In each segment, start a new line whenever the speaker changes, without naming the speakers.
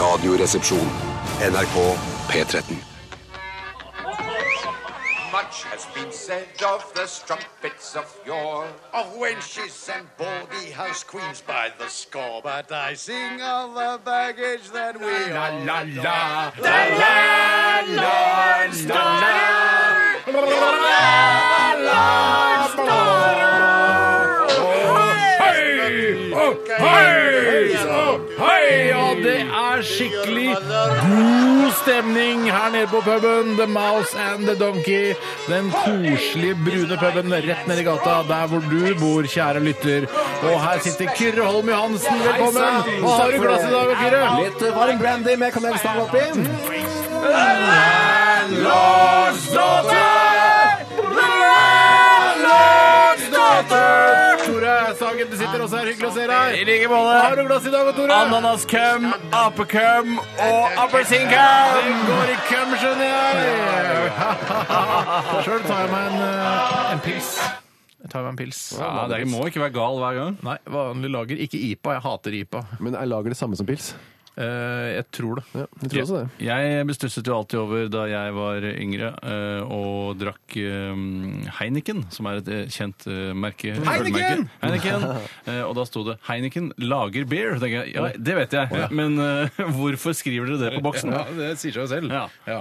Radioresepsjon. NRK P13.
Much has been said of the strumpets of yore,
Of wenches and baldy house queens by the score, but I sing of the baggage that we la, la, la, la,
Hei! Oh, hei! Oh, hei! Og det er skikkelig god stemning her nede på puben. The Mouse and the Donkey. Den koselige brune puben rett nedi gata der hvor du bor, kjære lytter. Og her sitter Kyrre Holm Johansen. Velkommen. Hva har du i glasset i dag, Kyrre?
Litt varm brandy med kanelstang oppi.
Tore Sagen, du sitter også her. Hyggelig å se deg. I like måte. Hva har du i glasset i dag, Tore?
Ananaskøm, apekøm og appelsinkøm!
Det går i køm, skjønner jeg. Sjøl tar jeg meg en, eh, en pils. Jeg tar meg en pils.
Ja, det må ikke være gal hver gang.
Nei, vanlig lager. Ikke IPA. Jeg hater IPA.
Men jeg lager det samme som pils.
Eh, jeg tror det.
Ja, jeg tror også det.
Jeg bestusset jo alltid over da jeg var yngre eh, og drakk eh, Heineken, som er et eh, kjent eh, merke.
Heineken!
ølmerke. Heineken! Eh, Og da sto det 'Heineken lager beer'. Tenker jeg, ja, det vet jeg, men eh, hvorfor skriver dere det på boksen?
Ja, det sier seg jo selv.
Ja.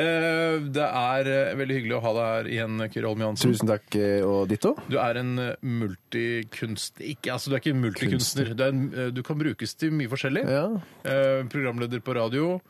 Eh, det er eh, veldig hyggelig å ha deg her igjen, Kyrre Holm Johansen.
Tusen takk eh, og ditto.
Du er en eh, multikunst... Ikke, altså, du er ikke en multikunstner. Du, er en, eh, du kan brukes til mye forskjellig.
Ja. Mm.
Eh, programleder på radio,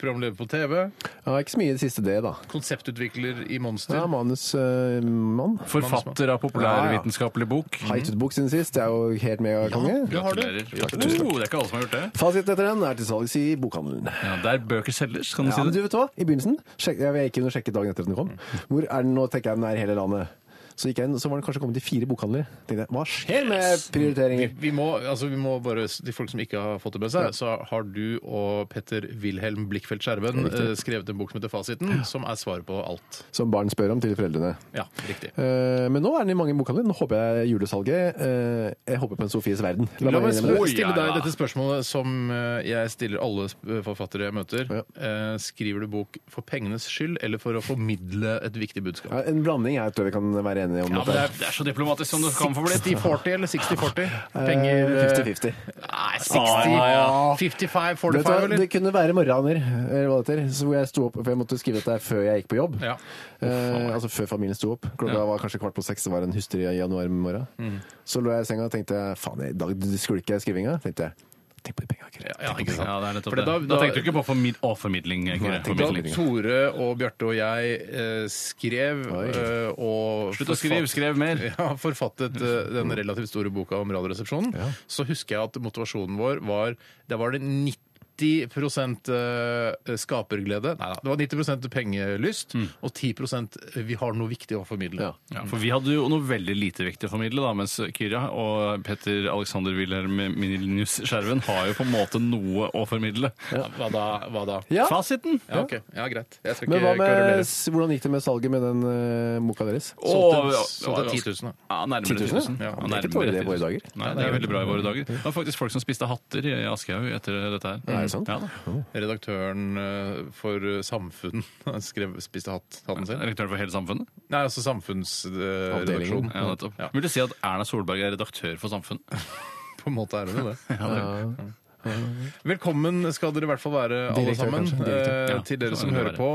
programleder på TV,
ja, ikke så mye i det siste det, da.
konseptutvikler i Monster.
Ja, manusmann. Uh,
Forfatter av populærvitenskapelig bok.
Har gitt ut bok siden sist. Det er jo helt megakonge.
du har det.
Gratulerer. Oh, det er ikke alle som har gjort det.
Fasiten etter den er til salgs i bokhandelen.
Ja, der bøker selges, kan du
Ja, men
si
du
det. Mm.
vet hva? I begynnelsen sjek, Jeg gikk inn og sjekket dagen etter at den kom. Hvor er den nå? tenker jeg den er i hele landet. Så gikk jeg inn, så var den kanskje kommet til fire bokhandlere. Tenkte jeg, Hva skjer med
Mm.
prioriteringer?
Vi må, altså vi må bare, De folk som ikke har fått det med seg, så har du og Petter Wilhelm Blikkfeldt Skjerven eh, skrevet en bok som heter Fasiten, som er svaret på alt.
Som barn spør om til foreldrene.
Ja, riktig.
Eh, Men nå er den i mange bokhandler. Nå håper jeg julesalget eh, Jeg håper på en Sofies verden. La
La
meg
meg
innrømme det.
spør-
Oi,
stille
ja,
deg
ja.
dette spørsmålet som eh, jeg stiller alle sp- forfattere jeg møter. Eh, Skriver du bok for pengenes skyld eller for å formidle et viktig budskap?
Ja, en blanding jeg tror vi kan være enige om.
Ja, men
dette.
det er, det er så diplomatisk som det kan få blitt.
50-40 eller 60-40?
Eh,
Penger eh,
50-50.
Nei,
Ah, ja.
60 55-45,
Vet du hva,
eller?
Det kunne være morgener, eller hva det heter, så hvor jeg sto opp, for jeg måtte skrive dette her før jeg gikk på jobb.
Ja.
Eh, altså før familien sto opp. Klokka var kanskje kvart på seks, det var en hysteri i januar morgen.
Mm.
Så lå jeg i senga og tenkte faen, i dag skulker jeg skrivinga. Tenkte jeg, tenk på de penga, Kyrre.
Ja, ikke sant?
Ja, det er nettopp
For
det.
da-
Da,
da-
tenkte du ikke på formid å, formidling. Ikke?
Nei, jeg tenkte
Da
formidling.
Tore og Bjarte og jeg eh, skrev
Oi.
eh, og
Slutt å skrive,
forfatt-
skrev mer.
Ja, forfattet eh, den relativt store boka om Radioresepsjonen. Så husker jeg at motivasjonen vår var Der var det 90 eh, skaperglede. Nei da. Det var 90 pengelyst
Mm.
og 10 vi har noe viktig å formidle.
Ja, for vi hadde jo noe veldig lite viktig å formidle, da, mens Kyrja og Petter Alexander Wilhelm Minilius Skjerven har jo på en måte noe å formidle.
Ja, Hva da? Hva da?
Ja.
Fasiten!
Ja, ok. ja, greit. Jeg skal
Men hva
ikke
med,
kverulere.
s- hvordan gikk det med salget med den eh, boka deres?
Solgte
Åh,
solgte
ja,
10 000, da.
Ja, nærmere
10
10 000. Ja,
000, ja. Det er ikke
nærmere
dårlig
10
det i
000.
våre dager.
Nei, det er veldig bra i våre dager. Det var faktisk folk som spiste hatter i Aschehoug etter dette her.
Er det sant?
Ja, da.
Redaktøren eh, for eh, Samfunn skrev, spiste hatt, hatten sin.
Redaktøren for hele samfunnet?
Nei, altså samfunnsredaksjonen.
Avdelingen.
Ja, nettopp.
Ja.
Vil du si at Erna Solberg er redaktør for samfunnet?
På en måte er det jo det. Velkommen skal dere i hvert fall være, alle
Direktør,
sammen.
kanskje. Direktør.
eh,
Ja,
Til dere
sånn
som
vil
hører
det
på.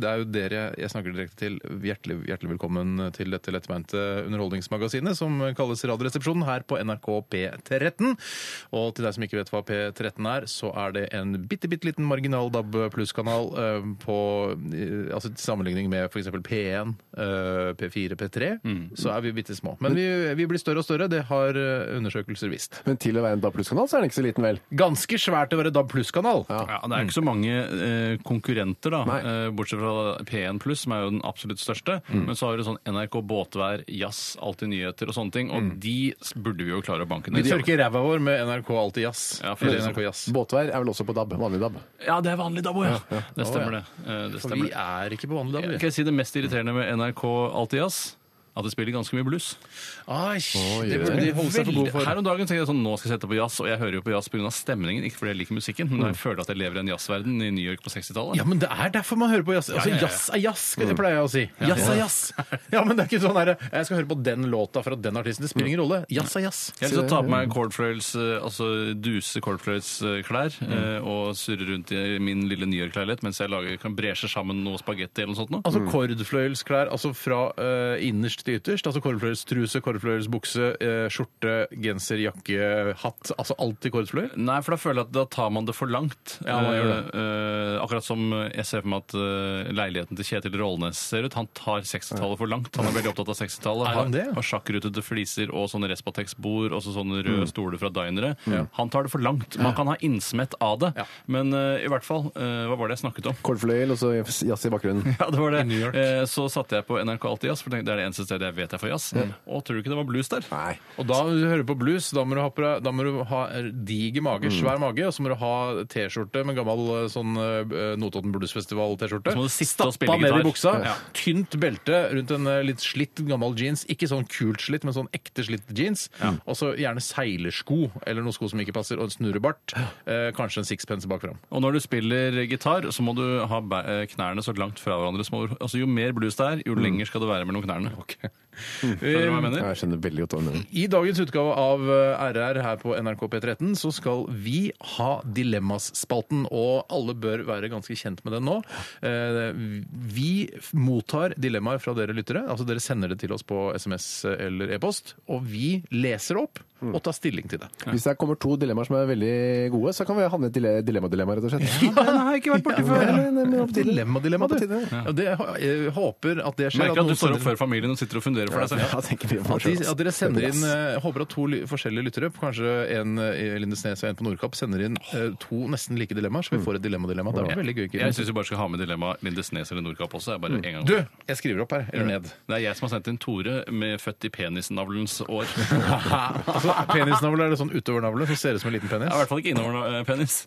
Det er jo dere jeg snakker direkte til. Hjertelig, hjertelig velkommen til dette lettbeinte underholdningsmagasinet som kalles Radioresepsjonen her på NRK P13. Og til deg som ikke vet hva P13 er, så er det en bitte, bitte liten marginal DAB pluss-kanal eh, på eh, Altså til sammenligning med f.eks. P1, eh, P4, P3, så er vi bitte små. Men vi, vi blir større og større, det har eh, undersøkelser vist.
Men til å være en DAB pluss-kanal, så er den ikke så liten, vel?
Ganske svært å være DAB pluss-kanal.
Ja, Det er ikke så mange eh, konkurrenter, da,
Nei.
eh, bortsett fra P1 pluss, som er jo den absolutt største.
Mm.
Men så har du sånn NRK Båtvær, Jazz, Alltid nyheter og sånne ting. Og
Mm.
de s- burde vi jo klare å banke
Vi
ned.
tørker ræva vår med NRK Alltid Jazz.
Ja, for
Eller
det er
NRK Jazz.
Båtvær er vel også på DAB? Vanlig DAB?
Ja, det er vanlig dabo, ja. Det
Å,
stemmer,
ja.
det. Eh, det
For vi
stemmer.
er ikke på vanlig DAB.
Kan jeg si det mest irriterende med NRK Alltid Jazz? at de spiller ganske mye blues.
Ai,
Å,
det
gjør
burde de
det?
holde seg for gode for.
Her om dagen tenkte jeg sånn, nå skal jeg sette på jazz, og jeg hører jo på jazz pga. stemningen, ikke fordi jeg liker musikken, men jeg føler at jeg lever i en jazzverden i New York på 60-tallet.
Mm. Ja, men det er derfor man hører på jazz. Altså,
ja, ja.
jazz er jazz, skal jeg pleier jeg å si. Jazz er jazz. Ja, men det er ikke sånn herre Jeg skal høre på den låta fra den artisten. Det spiller ingen rolle. Jazz er jazz.
Jeg har lyst til å ta på meg cordfløyels, eh, altså duse cordfløyelsklær eh,
Mm.
og surre rundt i min lille New York-leilighet mens jeg lager, kan bresje sammen noe spagetti eller noe sånt. Nå.
Altså kordfløyelsklær, altså fra eh, innerst til ytterst. Altså kordfløyelstruse, kordfløyelsbukse, eh, skjorte, genser, jakke, hatt. Altså alltid kordfløyel.
Nei, for da føler jeg at da tar man det for langt.
Ja, man gjør det.
Eh, eh, akkurat som jeg ser for meg at eh, leiligheten til Kjetil Rollnes ser ut. Han tar 60-tallet for langt. Han er veldig opptatt av 60-tallet.
Er han det?
Har, har sjakkrutete fliser og sånne Respatex-bord og så sånne
Mm.
røde stoler fra dinere. Han tar det for langt. Man kan ha innsmett av det,
Ja.
men eh, i hvert fall eh, Hva var det jeg snakket om?
Kordfløyel og så jazz i bakgrunnen.
Ja, det var det.
I New York.
Eh, så satte jeg på NRK Alltid Jazz, for det er det eneste stedet jeg vet jeg får jazz. Og tror du ikke det var blues der?
Nei.
Og da når du hører på blues, da må du ha, på deg- da må du ha diger mage,
Mm.
svær mage, og så må du ha T-skjorte med gammel eh, sånn eh, Notodden Bluesfestival-T-skjorte.
Så må du sitte og spille
Stappa ned i
gitar.
buksa.
Ja.
Tynt belte rundt en eh, litt slitt, gammel jeans. Ikke sånn kult slitt, men sånn ekte slitt jeans. Og så gjerne seilersko, eller noen sko som ikke passer, og en snurrebart. Eh, kanskje en sixpence bak fram.
Og når du spiller gitar, så må du ha ba- eh, knærne så langt fra hverandre som over- Altså, jo mer blues det er, jo
Mm.
lenger skal det være mellom knærne. Skjønner du hva jeg mener?
Jeg skjønner veldig godt hva du mener.
I dagens utgave av eh, RR her på NRK P13 så skal vi ha Dilemmaspalten, og alle bør være ganske kjent med den nå. Eh, Vi f- mottar dilemmaer fra dere lyttere, altså dere sender det til oss på SMS eller e-post, og vi leser opp og tar stilling til det.
Hvis det kommer to dilemmaer som er veldig gode, så kan vi havne i et dile- dilemma-dilemma, rett og slett.
har jeg ikke vært borti
før. men- men- men opp til det.
Dilemma-dilemma, du.
Opp til det.
Ja, det, jeg håper at det skjer.
Merker at du
noen
står
sender-
opp før familien og sitter og funderer for deg selv.
Ja, tenker vi på
At, de,
altså.
oss.
at dere sender inn
Yes.
eh, Håper at to ly forskjellige lyttere, kanskje en eh, i Lindesnes og en på Nordkapp, sender inn eh, to nesten like dilemmaer, så vi får et dilemma-dilemma. Det var veldig gøy.
Mm. Jeg
Kim.
syns vi bare skal ha med dilemmaet Lindesnes eller Nordkapp også. Jeg bare en gang.
Mm. Du, jeg skriver opp her. Eller ned.
Det er jeg som har sendt inn Tore med født i penisnavlens år.
Altså, penisnavle er det sånn utovernavle som ser ut som en
Jeg er
liten
i
penis.
hvert fall ikke innover eh, penis.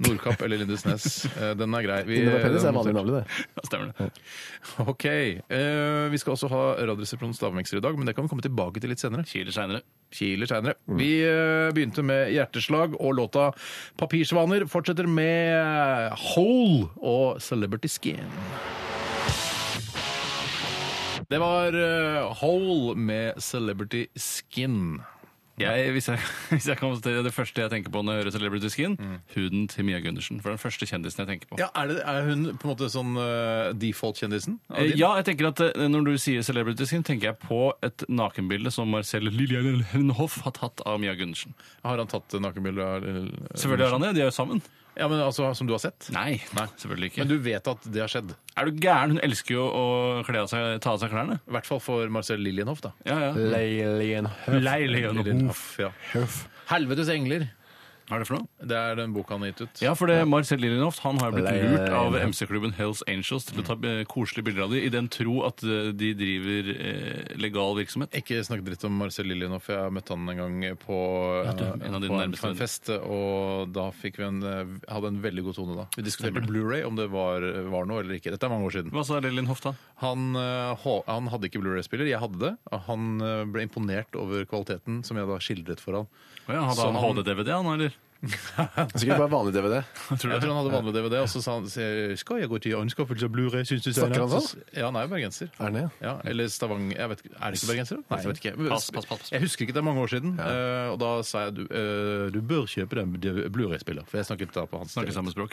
Nordkapp eller Lindesnes. Eh, Den er grei. Vi,
Innover penis er
den
vanlig
noterte.
navle, det.
Ja, Stemmer det.
Ok. Eh, Vi skal også ha Radioresepsjonens stavmikser i dag, men det kan vi komme tilbake til litt senere.
Kiler seinere.
kiler senere.
Mm.
Vi eh, begynte med hjerteslag og låta 'Papirsvaner'. Fortsetter med Hole og 'Celebrity Skin'. Det var eh, Hole med 'Celebrity Skin'.
Jeg, hvis, jeg, hvis jeg kan konstatere det første jeg tenker på når jeg hører Celebrity Skin, huden til Mia Gundersen. For den første kjendisen jeg tenker på.
Ja, er, det, er hun på en måte sånn eh, default-kjendisen? av
Eh,
din?
Ja, jeg tenker at eh, Når du sier Celebrity Skin, tenker jeg på et nakenbilde som Marcel Lillian Henhoff har tatt av Mia Gundersen.
Har han tatt nakenbilde av eller- eh,
Selvfølgelig har han det, de er jo sammen.
Ja, men altså, Som du har sett?
Nei, selvfølgelig ikke.
Men du vet at det har skjedd?
er du gæren? Hun elsker jo å kle av seg, ta av seg klærne.
I hvert fall for Marcel Lillienhoff, da.
Ja,
Eh,
ja. Lillian Hoff.
Lillienhoff, ja. Helvetes engler.
Hva er det for noe?
Det er den boka han har gitt ut.
Ja, for det Marcel Lillienhoff han har jo blitt
Lillian
lurt av
Hoff.
MC-klubben Hells Angels til å ta eh, koselige bilder av dem, i den tro at eh, de driver eh, legal virksomhet.
Ikke snakk dritt om Marcel Lillienhoff. Jeg møtte han en gang på,
du, en av
eh,
dine
på en,
nærmeste
på en
venner.
fest, og da fikk vi en, eh, hadde en veldig god tone da. Vi diskuterte Blu-ray, om det var, var noe eller ikke. Dette er mange år siden.
Hva sa Lillienhoff da?
Han, eh, hå- han hadde ikke Blu-ray-spiller, jeg hadde det. og Han eh, ble imponert over kvaliteten som jeg da skildret for han.
Å ja, hadde
Så
han
han-
HD-DVD, han, eller?
Sikkert bare vanlig DVD.
Jeg tror han hadde vanlig DVD, og så sa han «Se, skal jeg gå til anskaffelse av Blu-ray, synes du
Snakker han
Så- Ja, han er jo bergenser.
Er den det?
Ja, eller Stavanger jeg vet ikke, Er det ikke bergenser? da? Nei, jeg vet ikke. Men-
Pass, pass, pass.
Jeg husker ikke, det er mange år siden. eh, Og da sa jeg du, eh, du bør kjøpe den Blu-ray-spiller, for jeg snakket da på hans
Snakker
dialekt.
samme språk.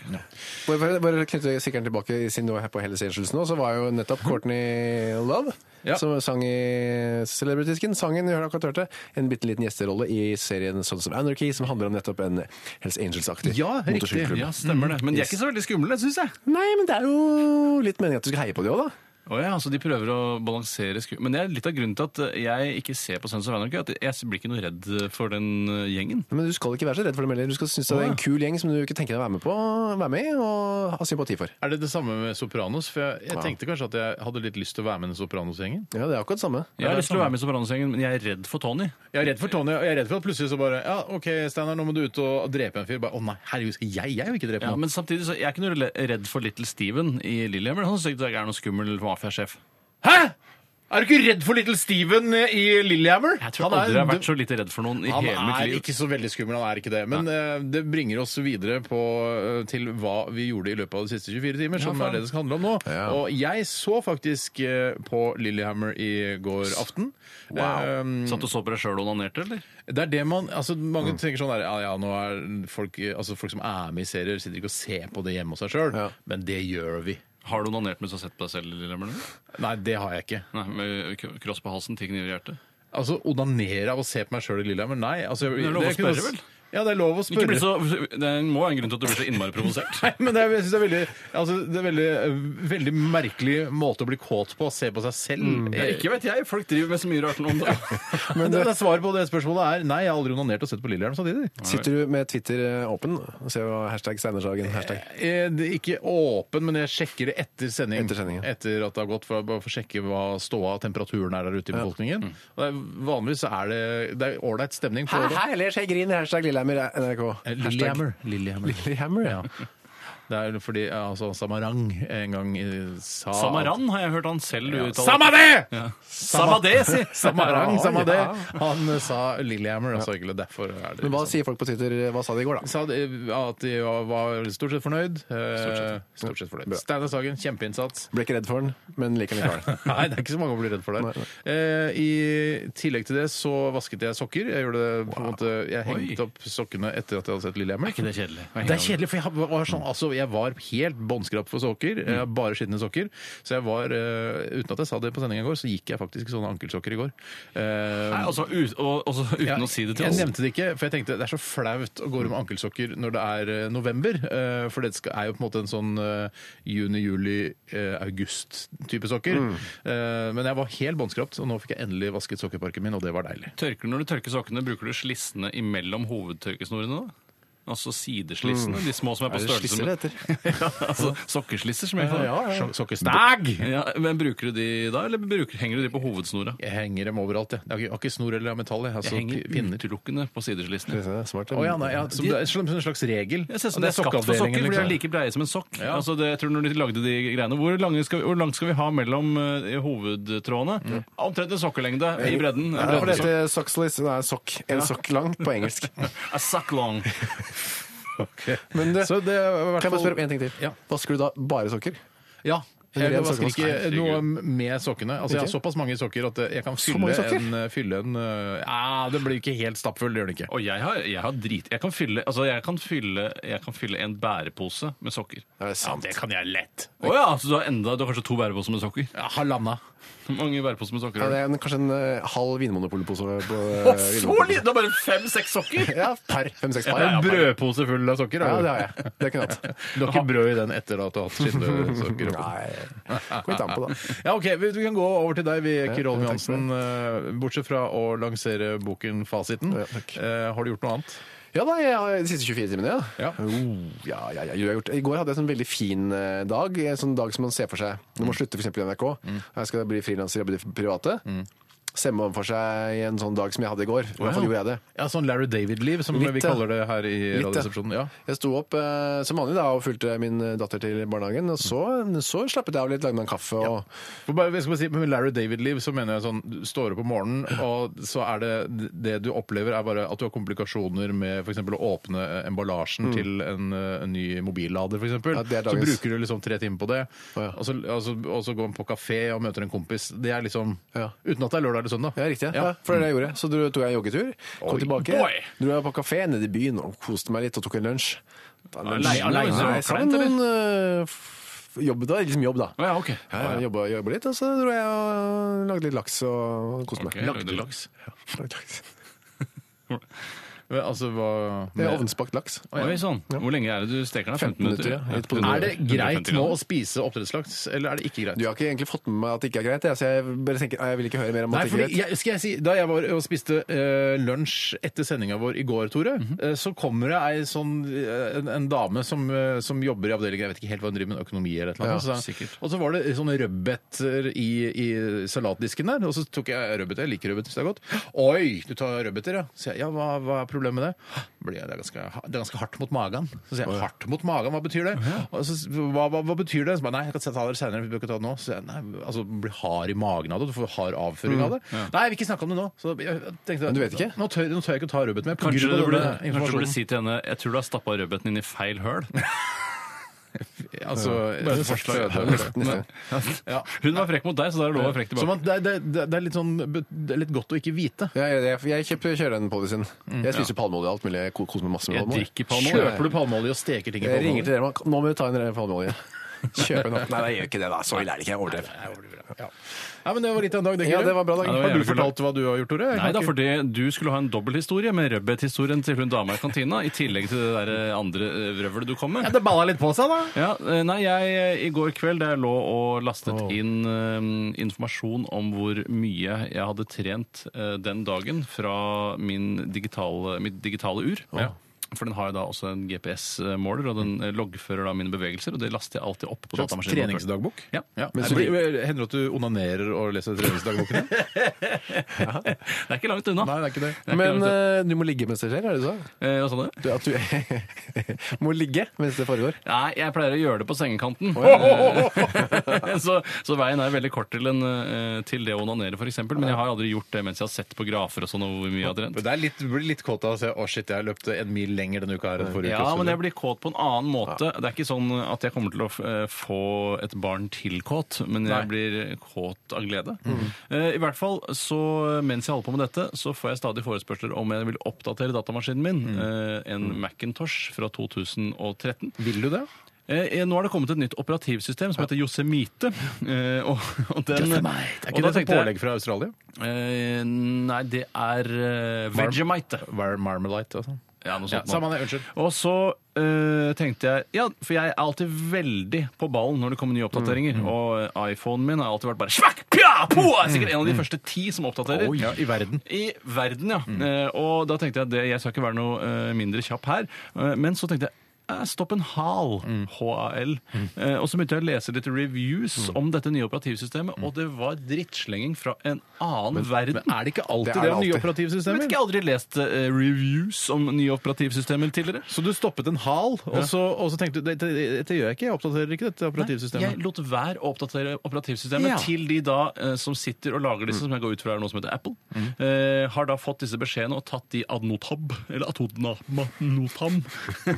Bare, bare knytte sikkeren tilbake siden du var her på Hells Angels nå, så var jo nettopp Courtney Love,
Ja.
som sang i Celebrity Skin, sangen vi hørte akkurat hørte, en bitte liten gjesterolle i serien Sons of Anarchy, som handler om nettopp en Hells Angels-aktig
Ja, riktig.
motorsykkelklubb.
Ja, stemmer det. Men de er ikke så veldig skumle, syns jeg.
Nei, men det er jo litt meningen at du skal heie på det òg, da.
Å ja, altså de prøver å balansere sku... Men det er litt av grunnen til at jeg ikke ser på Sons of Anarchy. At jeg blir ikke noe redd for den eh, gjengen.
Men du skal ikke være så redd for dem heller. Du skal synes det er en kul gjeng som du ikke tenker deg å være med på, være med i og ha sympati for.
Er det det samme med Sopranos? For jeg, jeg tenkte kanskje at jeg hadde litt lyst til å være med i den Sopranos-gjengen.
Ja, det er akkurat det samme.
Jeg har lyst til å være med i Sopranos-gjengen, men jeg er redd for Tony.
Jeg er redd for Tony, og jeg er redd for at plutselig så bare Ja, OK, Steinar, nå må du ut og drepe en fyr. Bare, Å nei, herregud, skal jeg, jeg vil ikke drepe
Ja,
noen.
men samtidig så jeg er ikke noe le- redd for Little Steven i Lillehammer. Han syns ikke jeg er noen skummel mafiasjef.
Hæ?! Er du ikke redd for Little Steven eh, i Lillehammer?
Jeg tror aldri jeg har vært så lite redd for noen i hele
Han
mitt
er
liv.
ikke så veldig skummel, han er ikke det. Men eh, det bringer oss videre på, eh, til hva vi gjorde i løpet av de siste 24 timer, som er det det skal handle om nå. Og jeg så faktisk eh, på Lillehammer i går aften. Eh,
Satt du så på deg sjøl og onanerte, eller?
det er det man, altså Mange
Mm.
tenker sånn der, ja, ja, nå er folk, altså folk som er med i serier, sitter ikke og ser på det hjemme hos seg sjøl, men det gjør vi.
Har du onanert mens du har sett på deg selv? Lillehammer? nå?
Nei, det har jeg ikke.
Nei, med k- kross på halsen, ti kniver i hjertet.
Altså, Onanere av å se på meg sjøl i Lillehammer? Nei. Altså,
det er lov å
kunne-
spørre, vel?
Ja, det er lov å
Ikke
spørre.
bli så, det må være en grunn til at du blir så innmari provosert.
Nei, men det er, jeg synes det er veldig, altså, det er veldig, eh, veldig merkelig måte å bli kåt på, å se på seg selv.
Ja,
Eh,
Ikke vet jeg, folk driver med så mye rart nå om dagen.
Men det, det er svaret på det spørsmålet er nei, jeg har aldri onanert og sett på Lillehammer samtidig.
Sitter du med Twitter eh, åpen? og ser hva hashtag Steinersagen hashtag?
Eh, det er Ikke åpen, men jeg sjekker det etter sending.
Etter sending, ja.
Etter at det har gått, for, bare for å sjekke hva ståa og temperaturen er der ute i
Mm.
befolkningen. Og det er, vanligvis så er det det er ålreit stemning på det.
eller skje grin, hashtag Lillehammer eh, NRK.
Eh,
Hashtag-
Lillehammer. Lillehammer.
Lillehammer, ja.
Det er fordi ja, altså, Samarang en gang eh, sa at-
Samaran har jeg hørt han selv
Ja.
uttale.
Samadé!
Samadé, si!
Samarang,
Ja,
Samadé.
ja.
Han eh, sa Lillehammer, altså egentlig derfor er det liksom-
Men hva sier folk på Twitter? Hva sa de i går, da?
sa de at de var- var stort sett fornøyd. Eh, Stort sett fornøyd. Steinar Sagen, kjempeinnsats.
Ble ikke redd for den, men liker den likevel.
Nei, det er ikke så mange å bli redd for der.
Nei,
Eh, I tillegg til det så vasket jeg sokker. Jeg gjorde det på en måte Jeg hengte opp sokkene etter at jeg hadde sett Lillehammer.
Ikke det er kjedelig.
Det er kjedelig, for jeg var, sånn, altså, jeg var helt båndskrap for sokker. Jeg har bare skitne sokker. Så jeg var, eh, uten at jeg sa det på sendingen i går, så gikk jeg faktisk i sånne ankelsokker i går. Eh,
Nei, altså, ut, og, også uten
Ja,
å si det til
jeg
oss.
nevnte det ikke, for jeg tenkte det er så flaut å gå rundt med ankelsokker når det er eh, november. eh, For det skal- er jo på en måte en sånn eh, juni, juli, eh, august-type sokker. Eh, Men jeg var helt båndskrapt, og nå fikk jeg endelig vasket sokkeparken min, og det var deilig.
Tørker Når du tørker sokkene, bruker du slissene imellom hovedtørkesnorene? da? Altså
Mm.
sideslissene, de små som er på
det
størrelse
slisser
med
det
ja, altså, Sokkeslisser, som jeg kaller det.
Sok- Sokkestag!
Ja, men Bruker du de da, eller bruker, henger du de på hovedsnora?
Jeg henger dem overalt, jeg. Jeg har ikke- jeg har ikke snor eller metall. Jeg, altså,
Jeg henger
pinner.
utelukkende på sideslissene.
Smart.
Å ja, nei, ja, som, det er som en slags regel.
Jeg ser ut som
Og
det er skapt for sokker,
sokkeavdelingen,
for de er
liksom.
like breie som en sokk.
Ja.
Altså det, jeg tror når de lagde de greiene, Hvor, lange skal, vi- hvor langt skal vi ha mellom eh, hovedtrådene?
Mm.
Omtrent en sokkelengde i bredden. En
Nei, det var
breddesokk.
dette sockslis. Nei, sokk. En sokk lang på engelsk.
A sock long.
Men du,
Så det er i hvert
kan jeg bare
fall-
spørre om én ting til?
Ja.
Vasker du da bare sokker?
Ja.
Eller
Jeg
en
vasker
sokkevask.
ikke noe med sokkene. Altså, jeg har
Ikke?
såpass mange sokker at jeg kan fylle
mange sokker?
en, fylle en eh, Ja, den blir ikke helt stappfull, det gjør den ikke.
Og jeg har, jeg har drit... Jeg kan, fylle, altså jeg, kan fylle, jeg kan fylle en bærepose med sokker.
Er det sant?
Det kan jeg lett.
Å ja, så du har enda du har kanskje to bæreposer med sokker?
Ja, Halvanna.
Mange bæreposer med sokker
Ja,
har du.
det er en, kanskje en eh, halv vinmonopolpose på
Å,
eh,
så
Vinmonopolet.
lite! Du har bare fem-seks sokker!
Ja, per fem-seks par.
Ja, ja,
Ja,
per.
Brødpose full av sokker?
det har jeg. Det kunne jeg hatt.
Du har ikke brød i den etter at du har hatt skinnsokker?
Nei, kom litt an på, da.
Ja, ok, vi, vi kan gå over til deg, vi, Kirolm Johansen. eh, Bortsett fra å lansere boken Fasiten.
Ja, takk.
eh, har du gjort noe annet?
Ja da, jeg har de siste 24 timene, ja.
Ja.
Oh, ja, ja, ja, jo, jeg har gjort. I går hadde jeg en sånn veldig fin eh, dag. En sånn dag som man ser for seg. Når man slutter f.eks. i NRK. Jeg skal bli frilanser og jobbe i det private. Ser man for seg en sånn dag som jeg hadde i går. I hvert fall gjorde jeg det.
Ja, Sånn Larry David-liv, som
Litt,
vi
ja.
kaller det her i
Litt, ja.
Radioresepsjonen. Ja.
Jeg sto opp eh, som vanlig da og fulgte min eh, datter til barnehagen. Og så, så slappet jeg av litt, lagde meg en kaffe og
For bare, jeg skal bare si, Med Larry David-liv så mener jeg sånn du står opp om morgenen, og så er det det du opplever, er bare at du har komplikasjoner med f.eks. å åpne eh, emballasjen til en, eh, en ny mobillader, f.eks.
Mm. Ja, det er
så
dagens.
bruker du liksom tre timer på det,
Å, ja.
og, så, og, så, og så går man på kafé og møter en kompis. Det er liksom
Ja.
Uten at det er lørdag eller søndag.
Ja, riktig.
Ja.
Ja. For det var det jeg gjorde. Så dro, tok jeg en joggetur, kom
Oi,
tilbake,
Mm. boy!
dro jeg på kafé nede i byen og koste meg litt og tok en lunsj. Da, lunsj-
Alei- aleine?
Nei, sammen
Kleint,
med noen øh, f- jobb, da. Liksom jobb, da.
Å ja, ok.
Ja, ja, jobba, jobba litt, og så dro jeg og lagde litt laks og koste meg.
Ok, lagde laks?
Lagde laks.
Men, altså, hva
Det er ovnsbakt laks.
Oi sann. Hvor lenge er det du steker den?
15 minutter, ja. Litt på
Er det greit
150
nå
gram.
å spise oppdrettslaks, eller er det ikke greit?
Du har ikke egentlig fått med meg at det ikke er greit, jeg, så jeg bare tenker, nei, jeg vil ikke høre mer om
Nei,
at det ikke er
fordi
greit.
jeg, skal jeg si, Da jeg var og spiste eh, lunsj etter sendinga vår i går, Tore,
Mhm.
eh, så kommer det ei sånn, eh, en, en dame som, eh, som jobber i avdelingen jeg vet ikke helt hva hun driver med, økonomi eller et eller annet. så
Ja,
sa-
sikkert.
og så var det sånne rødbeter i, i salatdisken der, og så tok jeg rødbeter. Jeg liker rødbeter, så det er godt. Oi, du tar rødbeter, ja. Så jeg, ja, hva, hva er problem med det. Blir jeg, det, er ganske, det er ganske hardt mot magen. Så sier jeg hardt mot magen, hva betyr det? Og så, s- hva, hva, hva betyr det? Så bare, nei, jeg kan ta det senere, vi bør ikke ta det nå. Så sier jeg, nei, altså, du blir hard i magen av det, du får hard avføring av det. Nei, jeg vil ikke snakke om det nå. Så jeg tenkte,
Mm, du vet ikke?
Nå tør, nå tør jeg ikke å ta rødbet med. på
Kanskje
grunn av
du burde,
denne
kanskje du burde
informasjonen.
si til henne Jeg tror du har stappa rødbeten din i feil høl.
Altså,
Bare et
forslag.
forslag.
Ja.
Hun var frekk mot deg, så da er det lov å være frekk
Så
tilbake.
man, det, er- det, er- det er litt sånn det er litt godt å ikke vite.
Ja, jeg, jeg, jeg kjøper, kjører den policyen. Jeg spiser palmeolje og alt mulig. Jeg ko- koser meg masse
Mm,
med
Jeg
palmeolje.
drikker palmeolje.
Kjøper-
Kjøper du palmeolje og steker ting i
Jeg ringer
palmeolje?
til dere, man. nå må vi ta en ren palmeolje. Kjøp en opp. Nei, jeg gjør ikke det, da. Så ille er det ikke. Jeg overdrev.
Ja. Nei, men det var litt av en dag, det.
Ja,
Kyrre.
det var en bra dag.
Ja, det var
Har du
jævlig
fortalt hva du har gjort, Tore? Jeg
Nei
kan
da,
ikke-
fordi du skulle ha en dobbelthistorie med rødbethistorien til hun dama i kantina, i tillegg til det der andre eh, vrøvlet du kom med.
Ja, det balla litt på seg, da.
Ja, eh, nei, jeg eh, i går kveld da jeg lå og lastet inn eh, informasjon om hvor mye jeg hadde trent eh, den dagen fra min digitale, mitt digitale ur. For den har jo da også en GPS-måler, og den eh, loggfører da mine bevegelser, og det laster jeg alltid opp på
Slags
datamaskinen.
treningsdagbok?
Ja.
Men så blir- Hender det at du onanerer og leser treningsdagboken din?
Det er ikke langt unna.
Nei, det er ikke det.
Det er ikke
Men
langt unna.
eh, du må ligge mens det skjer, er det du sa?
Eh, hva sa du?
Du, at du må ligge mens det foregår.
Nei, jeg pleier å gjøre det på sengekanten. så, så veien er veldig kort til, en, eh, til det å onanere, f.eks. Men jeg har aldri gjort det mens jeg har sett på grafer og sånn og hvor mye jeg har trent.
Men det er litt, du blir litt kåt av å se å shit, jeg løpte en mil lenger denne uka her enn forrige uke.
Ja,
så
men
det-
jeg blir kåt på en annen måte. Det er ikke sånn at jeg kommer til å eh, få et barn til kåt, men jeg
Nei.
blir kåt av glede. Eh, I hvert fall, så mens jeg holder på med dette, så får jeg stadig forespørsler om jeg vil oppdatere datamaskinen min. eh, En Macintosh fra 2013.
Vil du det?
Eh, eh, nå har det kommet et nytt operativsystem som heter Yosemite. Eh, og, og den,
Er
og da
ikke det
tenkte
et
jeg-
pålegg fra Australia?
Eh, nei, det er eh,
Varm-
Vegemite.
Var Marmalite og sånn.
Ja, noe
Ja,
sånt. nå.
Samme det, unnskyld.
og så eh, tenkte jeg Ja, for jeg er alltid veldig på ballen når det kommer nye
Mm,
oppdateringer. Og eh, iPhonen min har alltid vært bare smakk, pja, po! Er sikkert en av de første ti som oppdaterer.
mm. Oi, ja, I verden. Mm.
I verden, ja. Eh, og da tenkte jeg at det, jeg skal ikke være noe eh, mindre kjapp her. Eh, men så tenkte jeg eh, Stopp en hal,
Mm.
HAL. Eh, og så begynte jeg å lese litt reviews
Mm.
om dette nye operativsystemet, og det var drittslenging fra en annen verden.
Men er det ikke alltid
Det er
det,
det
om nye
alltid.
jeg vet
operativsystemer?
ikke, jeg har aldri lest eh, reviews om nye operativsystemer tidligere.
Så du stoppet en hal, og så, og så tenkte du dette, dette gjør jeg ikke, jeg oppdaterer ikke dette
Jeg
operativsystemet.
lot være å oppdatere operativsystemet
Ja.
til de da eh, som sitter og lager disse, som jeg går ut fra er noe som heter Apple, eh, har da fått disse beskjedene og tatt de ad notab, eller atodna notam.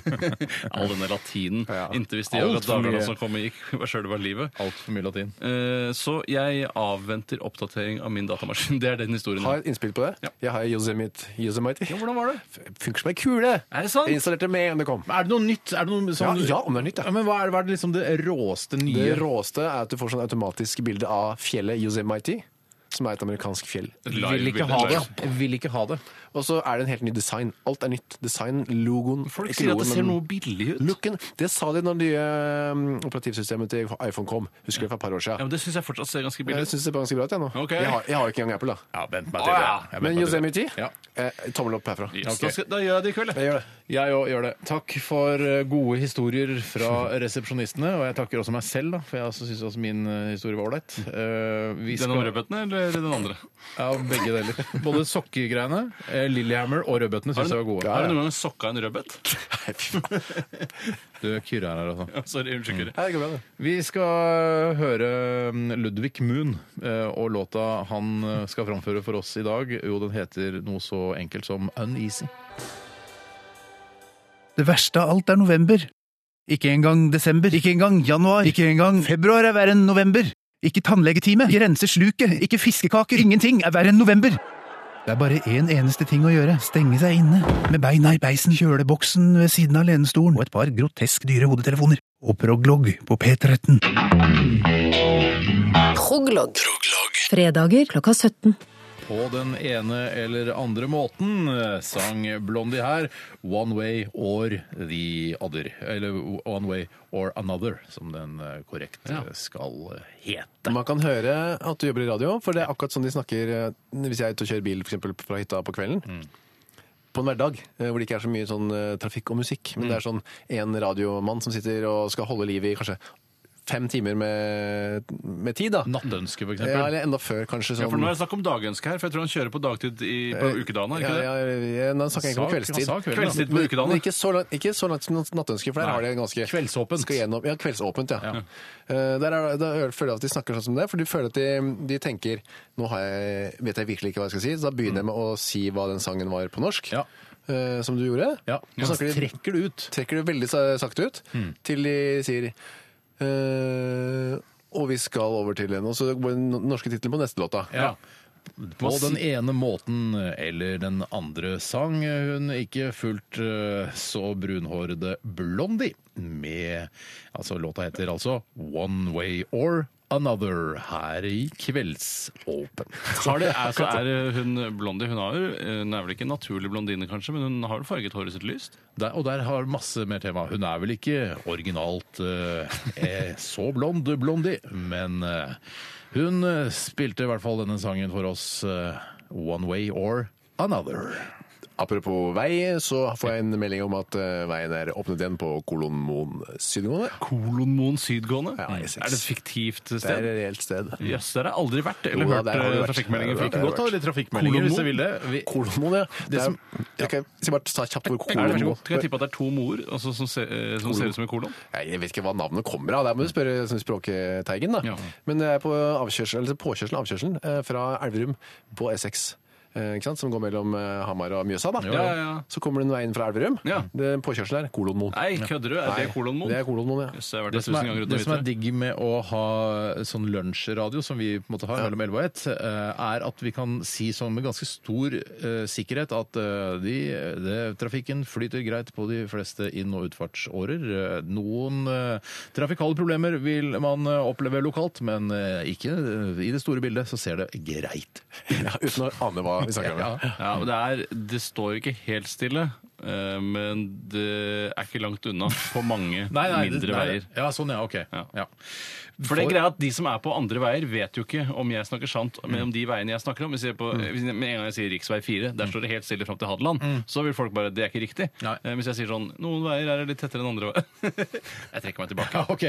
All denne latinen. Inntil hvis de
Alt
gjør at
for mye.
dagene som kommer, gikk hva sjøl det var livet.
Altfor mye latin.
Eh, så jeg avventer oppdatering av min datamaskin. Det er den historien.
Har jeg et innspill på det?
Ja.
Jeg har Yosemite. Yosemite.
Hvordan var det?
Funker som ei kule!
Er det sant?
Jeg installerte med en det kom.
Er det noe nytt? Er det noe
Ja,
sånn,
ja, om det er nytt, ja.
Ja, men hva er, hva er det liksom det råeste nye?
Det råeste er at du får sånn automatisk bilde av fjellet Yosemite, som er et amerikansk fjell.
vil ikke ha det. Jeg vil ikke ha det.
Og så er det en helt ny design. Alt er nytt. Design, logoen
Folk
ikke
sier at det
logoen,
ser
men
noe billig ut.
Looken, det sa de når det nye um, operativsystemet til iPhone kom. Husker du for et par år
Ja,
siden?
men det syns jeg fortsatt ser ganske billig
Jeg
ut.
syns det var ganske bra ut, jeg nå.
Ok.
Jeg, har, jeg har jo ikke engang Apple, da.
Ja, vent meg
til det. Ja,
Men Yosemite,
Ja.
eh, tommel opp herfra.
Yes, da, skal, da gjør jeg det i kveld. jeg.
Jeg gjør det.
Jeg òg gjør det. Takk for eh, gode historier fra resepsjonistene. Og jeg takker også meg selv, da, for jeg også syns også min eh, historie var ålreit. Eh, vi
Den om
skal-
rødbetene eller den andre?
Ja, begge deler. Både sokkegreiene, eh, Lillehammer og rødbetene syns jeg var gode.
Har du noen gang sokka en rødbet?
Du Kyrre er her, altså.
Sorry, unnskyld. Kyrre.
Ja, det går bra, det.
Vi skal eh, høre mm, Ludvig Moon eh, og låta han eh, skal framføre for oss i dag. Jo, den heter noe så enkelt som Uneasy.
Det verste av alt er november. Ikke engang desember. Ikke engang januar. Ikke engang februar er verre enn november. Ikke tannlegetime. Ikke rense sluket. Ikke fiskekaker. Ingenting er verre enn november. Det er bare én eneste ting å gjøre. Stenge seg inne. Med beina i beisen, kjøleboksen ved siden av lenestolen og et par grotesk dyre hodetelefoner. Og proglogg på P13.
Kroglogg. Fredager klokka 17.
På den ene eller andre måten eh, sang Blondie her One Way or The Other. Eller One Way or Another, som den eh, korrekt eh, skal hete.
Man kan høre at du jobber i radio, for det er akkurat sånn de snakker eh, hvis jeg er ute og kjører bil for eksempel, fra hytta på kvelden.
Mm.
På en hverdag eh, hvor det ikke er så mye
Mm.
sånn eh, trafikk og musikk. Men det er sånn en radiomann som sitter og skal holde liv i kanskje fem timer med, med tid, da.
Nattønske, for
Ja,
eksempel.
eller enda før, kanskje. Sånn,
Ja, for nå er det snakk om dagønske her, for jeg tror han kjører på dagtid i, på ukedagen. er det
Eh, ja,
ikke det?
ja, ja, Nå snakker jeg ikke om
Sak-
kveldstid.
sak, vel, da.
Kveldstid på ukedagene.
Men ikke så langt, ikke så langt som natt- nattønske, for der
Nei.
har de en ganske
Kveldsåpent.
Skal gjennom, ja, kveldsåpent, ja. Eh, der er, da føler jeg at de snakker sånn som det, for de føler at de, de tenker nå har jeg, vet jeg virkelig ikke hva jeg skal si, så da begynner jeg med å si hva den sangen var på norsk,
Ja.
eh, som du gjorde.
Ja,
Nå
så
snakker de,
trekker det ut.
trekker det veldig sa- sakte ut, til de sier eh, og vi skal over til en, og så går den norske titlen på neste låta.
Ja. På den ene måten eller den andre sang hun ikke fullt eh, så brunhårede Blondie med Altså, låta heter altså One Way or Another her i Kveldsåpen.
Har det, er, så er hun blondie. Hun, har, jo- eh, hun er vel ikke en naturlig blondine, kanskje, men hun har jo farget håret sitt lyst.
Der, og der har masse mer tema. Hun er vel ikke originalt eh, eh, så blond, Blondie, men eh, hun eh, spilte i hvert fall denne sangen for oss eh, One Way or Another.
Apropos vei, så får jeg en melding om at eh, veien er åpnet igjen på Kolonmoen sydgående.
Kolonmoen sydgående?
Ja, jeg synes-
er det et fiktivt
Det er
sted?
et reelt sted.
Jøss, der har jeg aldri vært, eller
Jo da,
hørt
der har du
eh,
vært.
trafikkmeldinger
Der har
fra.
du vært.
Godt å ha litt trafikkmeldinger hvis jeg vil det. Vi,
Kolonmoen, ja. Det
som-
er, jeg kan jeg skal bare ta kjapt
Er
hvor
det, vær så
Kolonmoen
god. Skal jeg tippe at det er to mor altså, som, ser- eh, som ser ut som en kolon?
Nei, Jeg vet ikke hva navnet kommer av. Der må du spørre sånn språkteigen, da.
Ja.
Men det er på avkjørselen, eller påkjørselen, avkjørselen eh, fra Elverum på E6. eh, Ikke sant? Som går mellom eh, Hamar og Mjøsa. da.
ja, ja.
Så kommer den veien fra Elverum.
Ja.
Den Påkjørselen er Kolonmoen.
Nei, kødder du? Er det
Nei,
kolonmoen?
Det er Kolonmoen, ja.
Jøss, jeg har vært
Det
der
som,
tusen
er,
ganger uten
det
å
som
vite
er digg med å ha sånn lunsjradio som vi på en måte har mellom 11 og 1, eh, er at vi kan si sånn med ganske stor eh, sikkerhet at eh, de, det, trafikken flyter greit på de fleste inn- og utfartsårer. Eh, noen eh, trafikale problemer vil man eh, oppleve lokalt, men eh, ikke eh, i det store bildet så ser det greit.
ja. Uten å ane hva vi snakker om. ja.
Ja, og det, er, det står ikke helt stille, eh, men det er ikke langt unna på mange mindre veier.
Ja, sånn ja, ok.
Ja.
Ja.
For det er greia at De som er på andre veier, vet jo ikke om jeg snakker sant men om de veiene jeg snakker om. Hvis jeg på, hvis jeg- med en gang jeg sier rv. 4, der står det helt stille fram til Hadeland, så vil folk bare Det er ikke riktig.
Nei.
Eh, Hvis jeg sier sånn Noen veier er litt tettere enn andre veier. jeg trekker meg tilbake.
Ja, ok.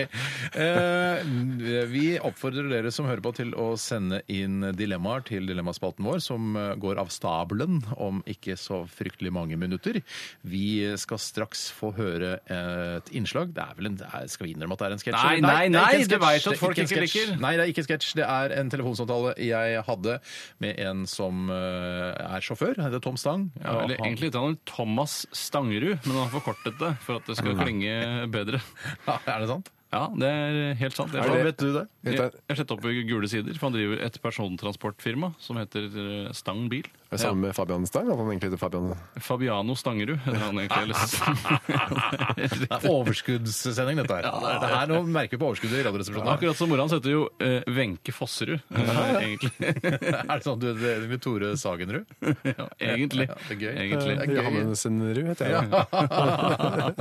Eh, vi oppfordrer dere som hører på til å sende inn dilemmaer til dilemmaspalten vår, som eh, går av stabelen om ikke så fryktelig mange minutter. Vi skal straks få høre eh, et innslag. Det er vel en, det er, Skal vi innrømme at det er en sketsj?
Nei,
eller?
nei,
det er ikke en
nei, du vet
sketsj.
at
Det er
folk
en
ikke
sketsj.
liker.
Nei, det er ikke sketsj. Det er en telefonsamtale jeg hadde med en som eh, er sjåfør. Han heter Tom Stang.
Ja, eller
Og han-
egentlig heter han Thomas Stangerud, men han har forkortet det for at det skal klinge bedre.
Ja, er det sant?
Ja, det er helt sant. Jeg
Er det-
har-
Vet du det?
Vet
Jeg
du-
jeg har sett opp i Gule sider, for han driver et persontransportfirma som heter eh, Stang Bil.
Det er Sammen med Fabian Stang, at han egentlig heter Fabian
Fabiano Stangerud heter han egentlig. eller-
Det er overskuddssending, dette her. det her nå merker vi på overskuddet i Radioresepsjonen.
Akkurat som mora hans heter jo eh, Wenche Fosserud, eh, egentlig.
Er det sånn du heter med Tore Sagenrud?
ja, egentlig.
Ja, det er gøy.
egentlig.
Johannesenrud heter jeg.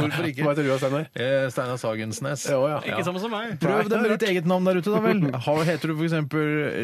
Hvorfor ikke?
Hva heter du, Steinar?
Eh, Steinar Sagensnes.
Ja, ja.
Ikke samme som meg.
Prøv det med ditt eget navn der ute, da vel. Har- Heter du f.eks.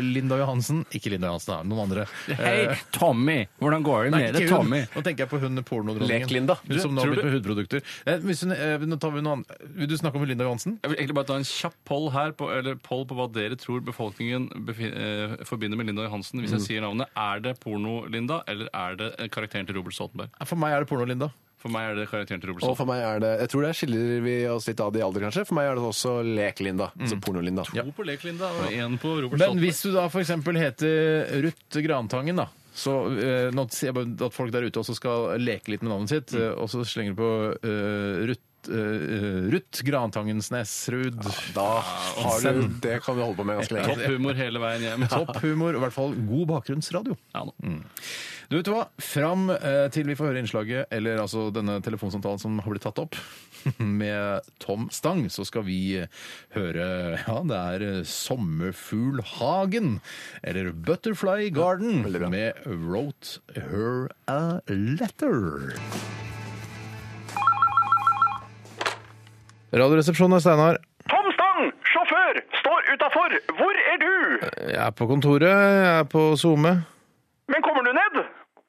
Linda Johansen? Ikke Linda Johansen, da. Noen andre. Eh,
Hei, Tommy! Hvordan går det med deg,
ikke hun.
Tommy?
Nå tenker jeg på hun pornodronningen.
Lek-Linda.
Hun Som nå har
Tror du-
begynt med hudprodukter. Eh, hvis hun, eh, nå tar vi noe annet. Vil du snakke om Linda Johansen?
Jeg vil egentlig bare ta en kjapp poll her på, eller poll på hva dere tror befolkningen befin- eh, forbinder med Linda Johansen. Hvis jeg
Mm.
sier navnet, er det porno-Linda, eller er det eh, karakteren til Robert Stoltenberg?
For meg er det porno-Linda.
For meg er det karakteren til Robert
Og for
Stoltenberg.
meg er det Jeg tror der skiller vi oss litt av i alder, kanskje. For meg er det også Lek-Linda. Altså porno-Linda.
To på Lek-Linda og én på Robert
Men
Stoltenberg.
hvis du da f.eks. heter Ruth Grantangen, da. Så eh, nå sier jeg bare at folk der ute også skal leke litt med navnet sitt, eh, og så slenger du på eh, Ruth. Uh, Ruth Grantangensnesrud.
Da har du Det kan du holde på med ganske lenge.
Topp humor hele veien hjem.
Topp humor, i hvert fall god bakgrunnsradio.
Ja, nå.
Mm. Du vet du hva, Fram eh, til vi får høre innslaget, eller altså denne telefonsamtalen som har blitt tatt opp med Tom Stang, så skal vi høre Ja, det er eh, Sommerfuglhagen, eller Butterfly Garden, med Wrote Her A Letter. Radioresepsjonen er Steinar.
Tom Stang, sjåfør, står utafor. Hvor er du?
Jeg er på kontoret, jeg er på SoMe.
Men kommer du ned?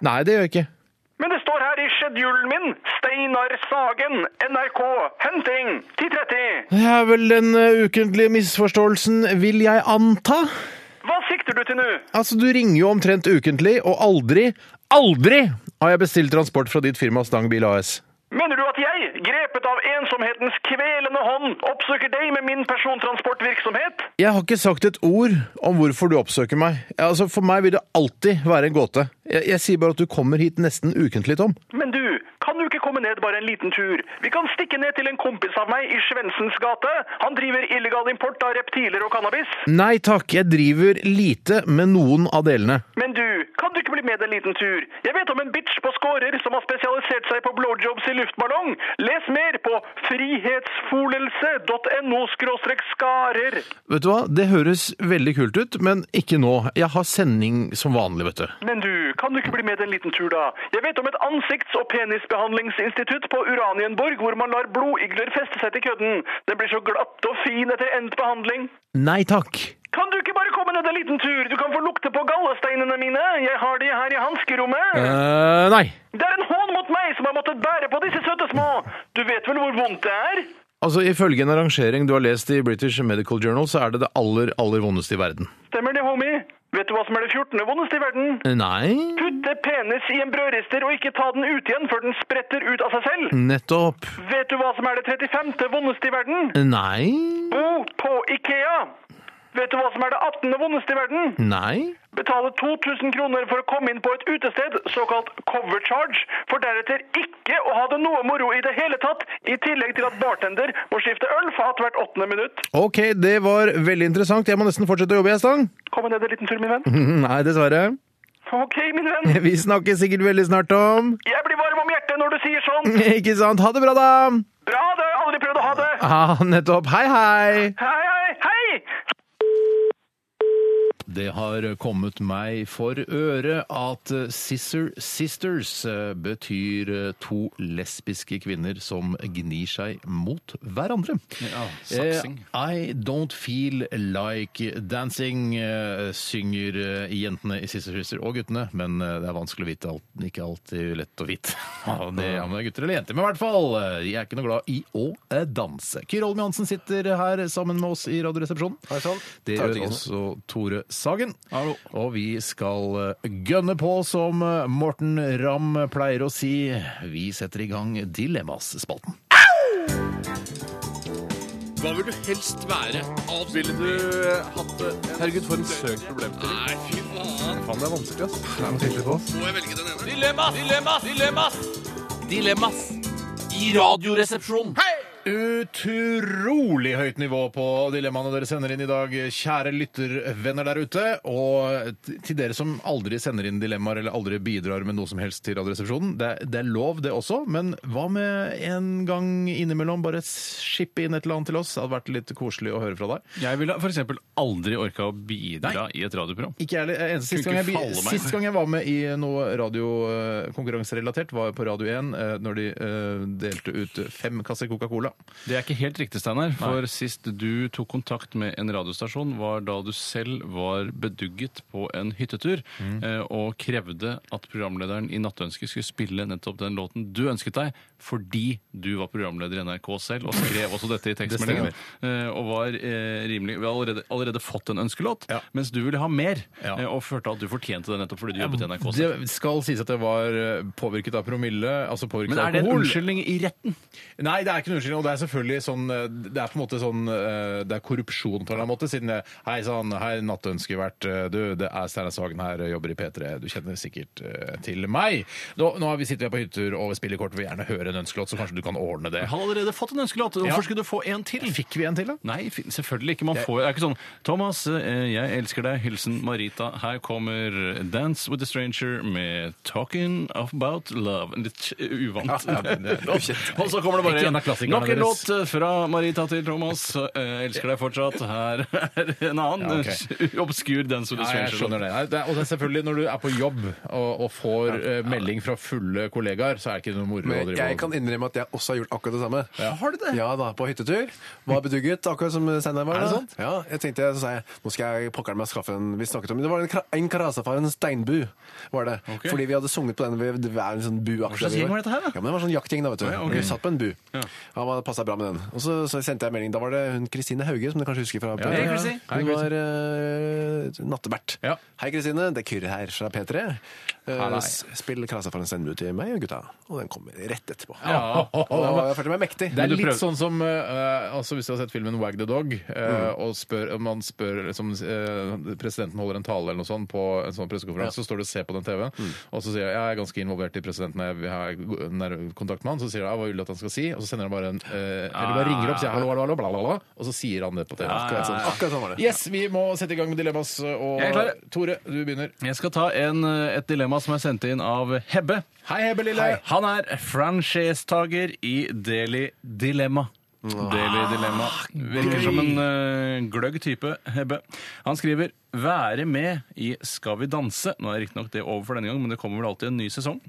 Nei, det gjør jeg ikke.
Men det står her i i schedulen min! Steinar Sagen, NRK, henting 10.30.
Det er vel den eh, ukentlige misforståelsen, vil jeg anta.
Hva sikter du til nå?
Altså, du ringer jo omtrent ukentlig, og aldri, aldri har jeg bestilt transport fra ditt firma Stang Bil AS.
Mener du at jeg, grepet av ensomhetens kvelende hånd, oppsøker deg med min persontransportvirksomhet?
Jeg har ikke sagt et ord om hvorfor du oppsøker meg. Altså, For meg vil det alltid være en gåte. Jeg, jeg sier bare at du kommer hit nesten ukentlig, Tom.
Men du, kan du ikke komme ned bare en liten tur? Vi kan stikke ned til en kompis av meg i Svendsens gate. Han driver illegal import av reptiler og cannabis.
Nei takk, jeg driver lite med noen av delene.
Men du, kan du ikke bli med en liten tur? Jeg vet om en bitch på skårer som har spesialisert seg på blowjobs i luftballong. Les mer på frihetsfolelse.no-skarer.
Vet du hva, det høres veldig kult ut, men ikke nå. Jeg har sending som vanlig, vet du.
Men du, kan du ikke bli med en liten tur da? Jeg vet om et ansikts- og penisbehandlingsinstitutt på Uranienborg hvor man lar blodigler feste seg til kødden. Den blir så glatt og fin etter endt behandling.
Nei takk.
Kan du ikke bare komme ned en liten tur? Du kan få lukte på gallesteinene mine. Jeg har de her i hanskerommet.
eh, nei.
Det er en hån mot meg som har måttet bære på disse søte små! Du vet vel hvor vondt det er?
Altså, Ifølge en arrangering du har lest i British Medical Journal, så er det det aller, aller vondeste i verden.
Stemmer det, homie? Vet du hva som er det 14. vondeste i verden?
Nei
Putte penis i en brødrister og ikke ta den ut igjen før den spretter ut av seg selv.
Nettopp.
Vet du hva som er det 35. vondeste i verden?
Nei
Bo på Ikea! Vet du hva som er det 18. vondeste i verden?
Nei.
Betale 2000 kroner for å komme inn på et utested, såkalt cover charge, for deretter ikke å ha det noe moro i det hele tatt, i tillegg til at bartender må skifte øl fat hvert åttende minutt.
OK, det var veldig interessant. Jeg må nesten fortsette å jobbe, jeg, Stang.
Kom ned en liten tur, min venn.
Nei, dessverre.
Ok, min venn.
Vi snakkes sikkert veldig snart, Tom.
Jeg blir varm om hjertet når du sier sånn.
Ikke sant? Ha det bra, da!
Bra, det har jeg aldri prøvd å ha det.
Ah, nettopp. Hei, hei!
Hei, hei, hei!
Det har kommet meg for øre at eh, Sister Sisters eh, betyr eh, to lesbiske kvinner som gnir seg mot hverandre.
Ja, saksing.
Eh, I don't feel like dancing, eh, synger eh, jentene i Sister Sister og guttene, men eh, det er vanskelig å vite alt, ikke alltid lett å vite. Ja, det er om det er gutter eller jenter, men i hvert fall, eh, de er ikke noe glad i å eh, danse. Kyrre Holm Johansen sitter her sammen med oss i Radioresepsjonen.
Hei, sånn.
Det
Takk,
gjør
Ine.
også Tore Sagen. Og vi skal eh, gønne på, som eh, Morten Ramm pleier å si. Vi setter i gang Dilemmas-spalten. Utrolig høyt nivå på dilemmaene dere sender inn i dag, kjære lyttervenner der ute. Og t- til dere som aldri sender inn dilemmaer eller aldri bidrar med noe som helst til Radioresepsjonen. Det, er- det er lov, det også, men hva med en gang innimellom bare skippe inn et eller annet til oss? Det hadde vært litt koselig å høre fra deg.
Jeg ville f.eks. aldri orka å bidra i et radioprogram.
Ikke ærlig. Eh, Eneste sist
Kunne
gang,
ikke
jeg,
falle meg.
sist gang jeg var med i noe radiokonkurranserelatert, var på Radio 1, eh, når de eh, delte ut fem kasser Coca-Cola.
Det er ikke helt riktig, Steinar. For sist du tok kontakt med en radiostasjon, var da du selv var bedugget på en hyttetur eh, og krevde at programlederen i Nattønsket skulle spille nettopp den låten du ønsket deg, fordi du var programleder i NRK selv og skrev også dette i tekstmeldingen. eh, og var eh, rimelig Vi har allerede, allerede fått en ønskelåt,
Ja.
mens du ville ha mer,
Ja.
eh, og følte at du fortjente det nettopp fordi du jobbet i NRK selv.
Det skal sies at jeg var eh, påvirket av promille, altså påvirket
Men er
av
det en
alkohol.
unnskyldning i retten?
Nei, det er ikke en unnskyldning. Og det er selvfølgelig sånn eh, Det er på en måte sånn eh, Det er korrupsjon på en eller annen måte, siden det Hei sann, hei, nattønske vært eh, Du, det er Steinar Sagen her, jeg jobber i P3. Du kjenner sikkert eh, til meg. Nå, nå har vi- sitter vi på hyttetur og vi spiller kort, og vil gjerne høre en ønskelåt, så kanskje du kan ordne det.
Jeg har allerede fått en ønskelåt. Hvorfor
Ja.
skulle du få en til?
Fikk vi en til, da?
Nei, fi- selvfølgelig ikke. Man får, det er ikke sånn 'Thomas, eh, jeg elsker deg. Hilsen Marita. Her kommer 'Dance with a Stranger' med 'Talking About Love'. En Litt eh, uvant.
Ja, ja, det er
Og så kommer det
Ikke en
bare
av klassikerne
nok Vakker
deres.
låt eh, fra Marita til Thomas. Eh, Jeg elsker deg fortsatt. Her er en annen. eh,
Ja,
Obskur dance with a
Ja, jeg
stranger.
skjønner det. Nei, det er, og det er selvfølgelig Når du er på jobb og, og får eh, melding fra fulle kollegaer, så er det ikke noe moro å
Men
drive
jeg kan innrømme at jeg også har gjort akkurat det samme.
Har du det?
Ja da, på hyttetur. Var bedugget, akkurat som Steinar var.
Er det
da.
sant?
Ja, jeg tenkte, så sa jeg, nå skal jeg pokkeren meg skaffe en vi snakket om. Det var en, kra- en karasafaren steinbu, var det.
Ok.
Fordi vi hadde sunget på den ved det var en sånn buaktig.
Hva slags gjeng var dette her, da?
Ja, men det var en sånn jaktgjeng da, vet du.
ja, ok.
Vi satt på en bu. Han var- passet bra med den. Og så, så sendte jeg melding, da var det hun Kristine Hauge, som du kanskje husker fra.
Hei,
Kristi.
Hei,
Hun
Kristi.
var eh, nattebert.
Ja.
Hei Kristine, det er Kyrre her fra P3. Eh,
Hallei.
s- spill karasafaren steinbu til meg og gutta. Og den kommer rett etterpå.
Ja.
Og da var jeg følte meg mektig.
Det er
Men du
litt
prøver-
sånn som eh, altså Hvis du har sett filmen Wag the Dog, eh,
Mm.
og spør, om man spør liksom, eh, presidenten holder en tale eller noe sånt på en sånn pressekonferanse, så står du og ser på den TV-en,
Mm.
og så sier jeg jeg er ganske involvert i presidenten, jeg har go- nær kontakt med han, så sier jeg «Ja, hva vil du at han skal si, og så sender han bare en eh, Eller bare ringer opp og sier hallo, hallo, hallo, bla, bla, bla, og så sier han det på TV.
Akkurat sånn, akkurat sånn var det.
Yes, vi må sette i gang med dilemmas, eh, og
Jeg er klar.
Tore, du begynner.
Jeg skal ta en, eh, et dilemma som er sendt inn av Hebbe.
Hei, Hebbe Lille.
Han er franchisetaker i Deli Dilemma. Deli
Ah,
Dilemma. Virker som en eh, gløgg type, Hebbe. Han skriver 'Være med i Skal vi danse'. Nå er riktignok det over for denne gang, men det kommer vel alltid en ny sesong.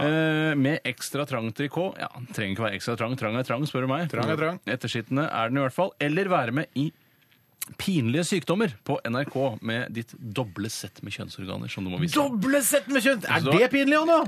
Eh, med ekstra trang trikot. Ja, den trenger ikke være ekstra trang. Trang er trang, spør du meg.
Trang er trang.
Ettersittende er den i hvert fall. Eller være med i Pinlige sykdommer på NRK med ditt doble sett med kjønnsorganer. som du må vise.
Doble sett med kjønn! Er
det
pinlig, Anna?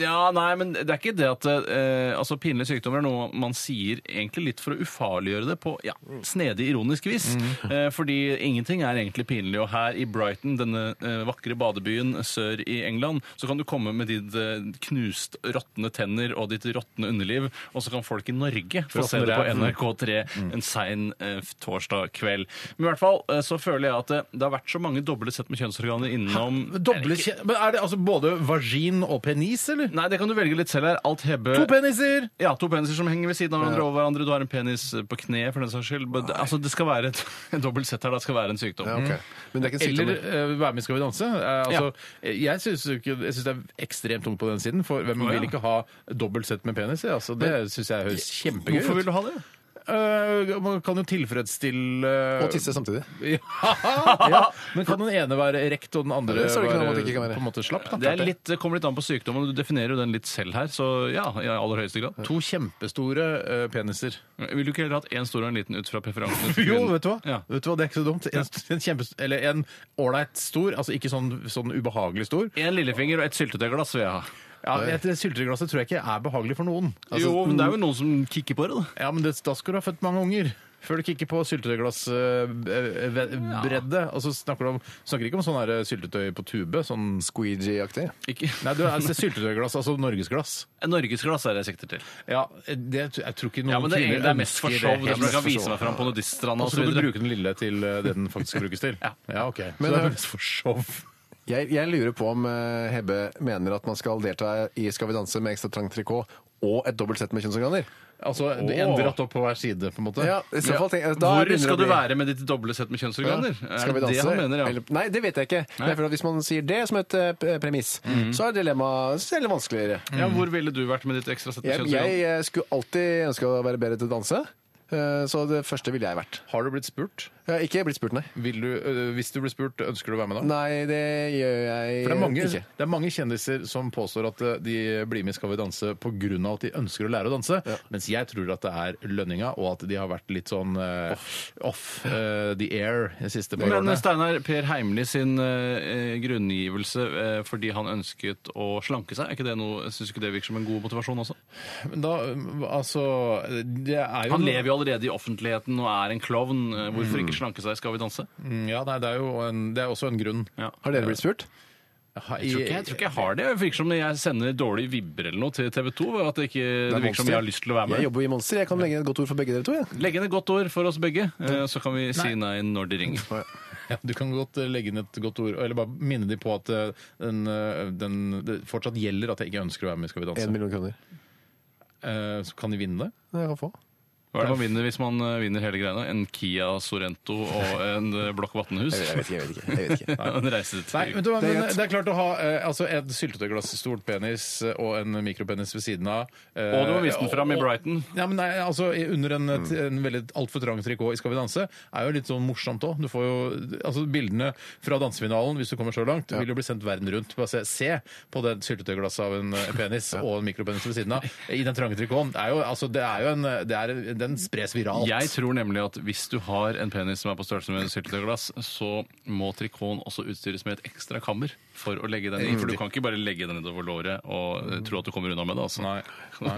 Ja, nei, men det er ikke det at eh, altså, Pinlige sykdommer er noe man sier egentlig litt for å ufarliggjøre det på ja, snedig ironisk vis.
Mm.
Eh, fordi ingenting er egentlig pinlig. Og her i Brighton, denne eh, vakre badebyen sør i England, så kan du komme med ditt eh, knust råtne tenner og ditt råtne underliv, og så kan folk i Norge få se det på NRK3 en sein eh, torsdag kveld. Men i hvert fall eh, så føler jeg at det, det har vært så mange doble sett med kjønnsorganer innom
Doble kjønn? Men er det altså både vagin og penis, eller?
Nei, det kan du velge litt selv her. Alt hebbe
To peniser!
ja, to peniser som henger ved siden av hverandre over hverandre. Du har en penis på kneet, for den saks skyld. Men, det- altså, det skal være et en dobbelt sett her. Det skal være en sykdom. Mm.
Ja, ok. Men det er ikke en
Eller
sykdom.
eh, Være med skal vi danse. Eh, altså, eh, Jeg syns det er ekstremt tungt på den siden, for hvem
Å, ja.
vil ikke ha dobbelt sett med penis? ja? Altså, det syns jeg høres kjempegøy
Hvorfor vil
ut.
du ha det?
Eh, man kan jo tilfredsstille
Og tisse samtidig.
ja. ja. Men kan den ene være erekt og den andre
Ja, det står det ikke noe om
være,
at det ikke kan være.
på en måte slapp? Da?
Det, er litt, det kommer litt an på sykdommen. og Du definerer jo den litt selv her, så ja, i aller høyeste grad.
To kjempestore eh, peniser.
Vil du ikke heller hatt én stor og en liten ut fra preferansene? til
Jo,
kvinnen?
vet du hva?
Ja.
Vet du hva? Det er ikke så dumt. En, en, kjempe, eller en ålreit stor, altså ikke sånn, sånn ubehagelig stor.
En lillefinger og et syltetøyglass vil jeg ha.
Ja, et Sylteglasset tror jeg ikke er behagelig for noen. Altså,
jo, men det er jo noen som kikker på det, da.
Ja, men det, da skal du ha født mange unger. Før du kikker på syltetøyglassbredde. Og så snakker du om, snakker ikke om sånn her syltetøy på tube. Sånn
Squeegee-aktig.
Ikke.
Nei, du, altså, syltetøyglass, altså norgesglass.
En Norgesglass er det jeg sikter til.
Ja, det, jeg tror ikke noen
Ja, men det, er,
kvinner
det er mest for
ønsker
show.
det.
Det er for å vise meg fram på nudiststranda
Og så
osv.
skal du bruke den lille til eh, det den faktisk skal brukes til?
Ja.
ok. Men, eh, så det
hør-
er mest for show.
Jeg, jeg lurer på om eh, Hebbe mener at man skal delta i Skal vi danse med ekstra trang trikot og et dobbelt sett med kjønnsorganer.
Altså en
Åh.
dratt opp på hver side, på en måte.
Ja, i så fall tenker jeg- da
Hvor
begynner det
skal
å
du
bli-
være med ditt doble sett med kjønnsorganer? Er
Skal vi
det
danse?
Det han mener, ja.
Eller- nei, det vet jeg ikke. Men jeg føler at Hvis man sier det som et eh, p- premiss, så er dilemmaet selv vanskeligere.
ja, hvor ville du vært med ditt ekstra sett med
Mm. Jeg, jeg
kjønnsorganer?
eh, skulle alltid ønske å være bedre til å danse, eh, så det første ville jeg vært.
Har du blitt spurt?
Jeg har ikke blitt spurt, nei.
Vil du, øh, hvis du blir spurt, ønsker du å være med da?
Nei, det gjør jeg
For det er,
Eh,
mange,
ikke.
det er mange kjendiser som påstår at eh, de blir med i Skal vi danse pga. at de ønsker å lære å danse, mens jeg tror at det er lønninga, og at de har vært litt sånn eh, off eh, the air de siste par
Men
årene.
Steinar Per Heimli sin eh, grunngivelse eh, fordi han ønsket å slanke seg, er ikke det noe, syns ikke det virker som en god motivasjon også?
Men da, eh, altså Det er jo
Han lever jo allerede i offentligheten og er en klovn. eh, Hvorfor
Mm.
ikke slanke seg? Skal vi danse?
Mm, Ja, nei, det er jo en, det er også en grunn.
Ja.
Har dere blitt spurt?
Jeg tror, ikke, jeg tror ikke jeg har det. Det virker som jeg sender dårlige vibber eller noe til TV 2. At det ikke det virker som jeg har lyst til å være med.
Jeg jobber i Monster. Jeg kan legge inn et godt ord for begge dere to. Jeg.
Legg inn et godt ord for oss begge, eh,
Mm.
så kan vi si nei når de ringer.
Ja, du kan godt eh, legge inn et godt ord, eller bare minne de på at eh, den, eh, den, det fortsatt gjelder at jeg ikke ønsker å være med i Skal vi danse.
En million kroner.
Eh, så kan de vinne det?
Det jeg kan få.
Hva er det man vinner hvis man eh, vinner hele greiene? En Kia Sorento og en eh, blokk Vatnhus?
Jeg vet ikke. jeg vet ikke, jeg vet ikke.
En reise til
Nei, vet du hva, men det er klart å ha eh, altså et syltetøyglass, stort penis eh, og en mikropenis ved siden av. eh,
Og du må vise den fram i
og-
Brighton.
Ja, men nei, altså i- Under en, t- en veldig altfor trang trikot i Skal vi danse er jo litt sånn morsomt òg. Du får jo altså Bildene fra dansefinalen, hvis du kommer så langt, vil jo bli sendt verden rundt. Bare se, se på det syltetøyglasset av en eh, penis og en mikropenis ved siden av i den trange trikoten. Det er jo, altså, det er jo en eh, det er, Den spres viralt.
Jeg tror nemlig at hvis du har en penis som er på størrelse med et syltetøyglass, så må trikoten også utstyres med et ekstra kammer for å legge den i. For du kan ikke bare legge den nedover låret og eh, tro at du kommer unna med det. altså.
Nei. Nei.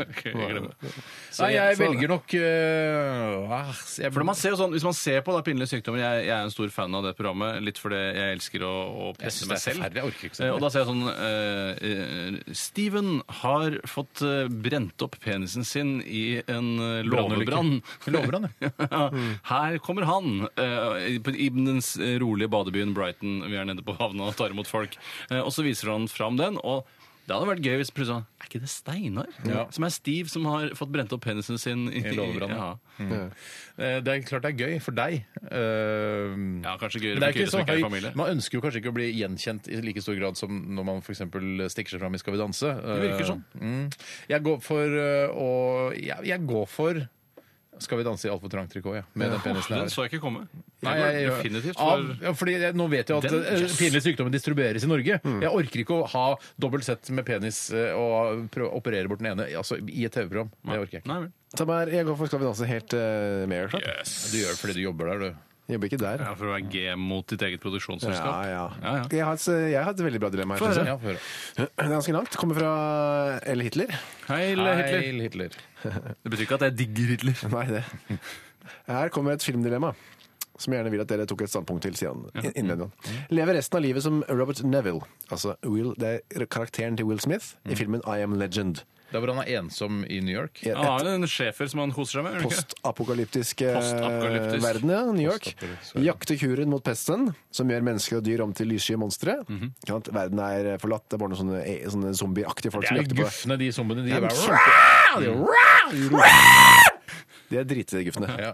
Ok, glem det.
Nei, jeg
Så-
velger nok eh, ah, jeg,
For man ser jo sånn, Hvis man ser på da, pinlige sykdommer Jeg, jeg er en stor fan av det programmet, litt fordi jeg elsker å, å
Jeg
presse
synes
meg
det er
selv.
forferdelig, jeg orker ikke sånn.
Eh, og da ser jeg sånn eh, eh, Steven har fått eh, brent opp penisen sin i en eh, låvebrann.
Låvebrann, ja.
Ja, Her kommer han eh, i- på- i den s- rolige badebyen Brighton. Vi er nede på havna og tar imot folk. Eh, og så viser han fram den. og det hadde vært gøy hvis plutselig sånn, Er ikke det Steinar?
Ja.
Som er stiv, som har fått brent opp penisen sin i,
I låvebrannen.
Ja.
Eh, Det er klart det er gøy for deg. Eh,
Ja, kanskje
men
gøyere
det er
for Kyrre
ikke sånn- så
som ikke er i
høy.
familie.
Man ønsker jo kanskje ikke å bli gjenkjent i like stor grad som når man f.eks. stikker seg fram i Skal vi danse. Det
virker sånn.
Mm. Jeg går for eh, å jeg, jeg går for Skal vi danse i altfor trangt trikot, ja. Med den penisen jeg
Den
har.
så jeg ikke komme.
Nei,
jeg,
jeg-
går definitivt
Av-
for
ja, fordi jeg, Nå vet jeg at
Den- Mm.
eh,
yes.
pinlige sykdommer distribueres i Norge. Jeg orker ikke å ha dobbelt sett med penis eh, og prøve å operere bort den ene altså, i et TV-program. Det orker jeg ikke.
Nei vel.
Ta meg her, Jeg går for Skal vi danse helt uh, mer, klart.
Du gjør det fordi du jobber der, du.
Jeg jobber ikke der.
Ja, for å være G mot ditt eget
Ja,
produksjonsselskap.
ja.
Ja, ja.
Jeg, har et, eh, jeg har et veldig bra dilemma her.
Få
synes jeg.
Ja, få høre.
Ganske langt. Kommer fra L. Hitler.
Heil, Hitler.
Heil Hitler.
Det betyr ikke at jeg digger Hitler.
Nei, det. Her kommer et filmdilemma. Som jeg gjerne vil at dere tok et standpunkt til, sier han innledende. Lever resten av livet som Robert Neville. Altså Will, det er karakteren til Will Smith i filmen I Am Legend.
Det er hvor han er ensom i New York.
I
Han har jo Ah, en schæfer som han koser seg med. gjør han ikke?
postapokalyptisk eh,
Postapokalyptisk.
verden, ja, New York.
Postapokalyptisk verden.
Jakter kuren mot pesten, som gjør mennesker og dyr om til lyssky monstre.
Mhm.
Ikke sant? Verden er eh, forlatt, det er bare noen sånne, eh, sånne zombieaktige folk
Det
som
er
jakter
jo
på
gufne, de zombiene. De
Ja,
er
men
bare
kjempe- De er dritguffene.
Ja.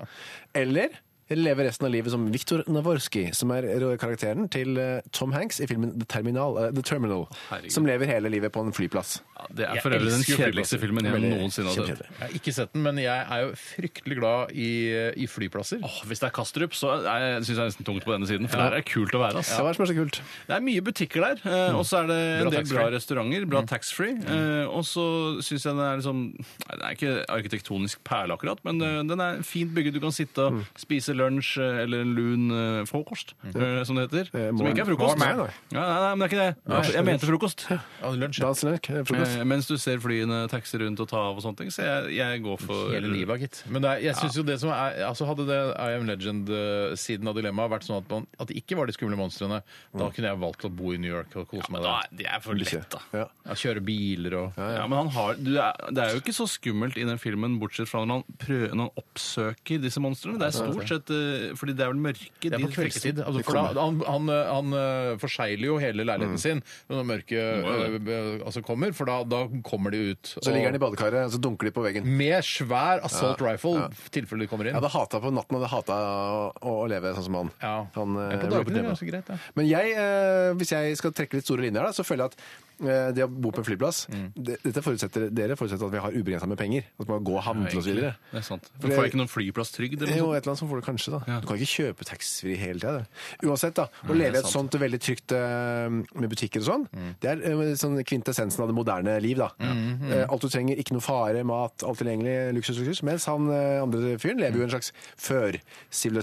Eller leve resten av livet som Viktor Navorski, som er karakteren til eh, Tom Hanks i filmen The Terminal, eh, The Terminal
herregud.
som lever hele livet på en flyplass.
Ja, det er
Jeg
for øvrig den
elsker jo altså.
kjedeligste
flyplasser.
filmen jeg
Veldig
noensinne har sett.
kjempekjedelig.
Jeg har ikke sett den, men jeg er jo fryktelig glad i, i flyplasser.
Åh, hvis det er Kastrup, så syns jeg er nesten tungt på denne siden. For det er kult å være. ass.
Ja, Hva er det som er så kult?
Det er mye butikker der, eh, og så er det en
Mm. Bra
del
taxfree. Mm.
bra restauranter. Bra taxfree. eh, Og så syns jeg den er liksom nei, Den er ikke arkitektonisk perle, akkurat, men eh,
Mm.
den er fint bygget. Du kan sitte og spise lunsj eh, eller en lun eh, frokost,
Mm.
eh, som det heter.
Eh,
Som
morgen-
ikke er frokost.
morgen-
nei,
nei,
nei, nei, men det er ikke det. Jeg mente frokost.
Ja, lunsj.
Dans, lønk, frokost.
Eh, Mens du ser flyene taxi rundt og ta av og sånne ting, så jeg, jeg går for
Hele livet, gitt. Men det er, jeg synes jo det som er, altså hadde det I Am Legend-siden av dilemmaet vært sånn at, man, at det ikke var de skumle monstrene,
Mm.
da kunne jeg valgt å bo i New York og kose meg
Da
der.
er- Det er for lett, da.
Ja.
Ja, kjøre biler og
Ja, men han har, du, er- Det er jo ikke så skummelt i den filmen, bortsett fra når han, prøver, når han oppsøker disse monstrene. Det er stort sett eh, fordi det er vel mørke
Det er
de
på kveldstid. Altså, for da, han han, han eh, forsegler jo hele
Mm.
leiligheten sin når mørket eh, altså kommer, for da, da kommer de ut.
Så
og-
ligger den i badekaret, og så dunker de på veggen.
med svær assault rifle, tilfelle de kommer
Jeg
inn.
hadde hata på natten, hadde hata å, å leve sånn som han.
Ja.
han
Ja,
eh,
på
Robert
dagene er det
Neville.
ganske greit, ja.
Men jeg, eh, hvis jeg skal trekke litt store linjer, da, så føler jeg at eh, det å bo på en flyplass
Mm.
det, dette forutsetter, Dere forutsetter at vi har ubegrensa med penger. At man går og handler osv.
Det
Jo,
er sant. Du
For det-
får ikke noen flyplasstrygd
et
eller noe sånt.
eller annet som får du kanskje. da. Du kan ikke kjøpe taxfree hele tida. Uansett, da. Å leve i et sånt veldig trygt eh, med butikker og sånn,
Mm.
det er eh, sånn kvintessensen av det moderne liv, da. Eh, alt du trenger, ikke noe fare, mat, alt tilgjengelig, luksus, luksus. Mens han eh, andre fyren lever jo i en slags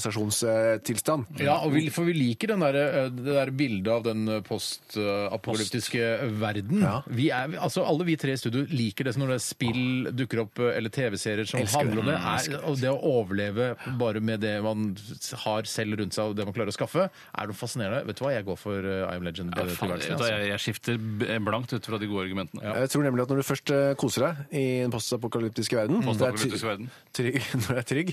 før-sivilisasjonstilstand.
Ja, og vi, for vi liker den der, eh, det der bildet av den eh, postapokalyptiske eh, verden.
Ja.
Vi er, altså, alle vi tre i studio liker det som når det er spill dukker opp, eh, eller TV-serier som
Elsker det.
handler om det.
Mm, elsker
Er, og det å overleve bare med det man har selv rundt seg og det man klarer å skaffe, er noe fascinerende. Vet du hva, jeg går for eh, I am
Ja, faen,
legend-tilværelsen.
vet du hva, jeg, jeg skifter b- blankt ut fra de gode argumentene.
Jeg tror nemlig at når du først eh, koser deg i den postapokalyptiske verden,
Mm.
når det er try-
Postapokalyptiske verden.
Trygg, når det er trygg,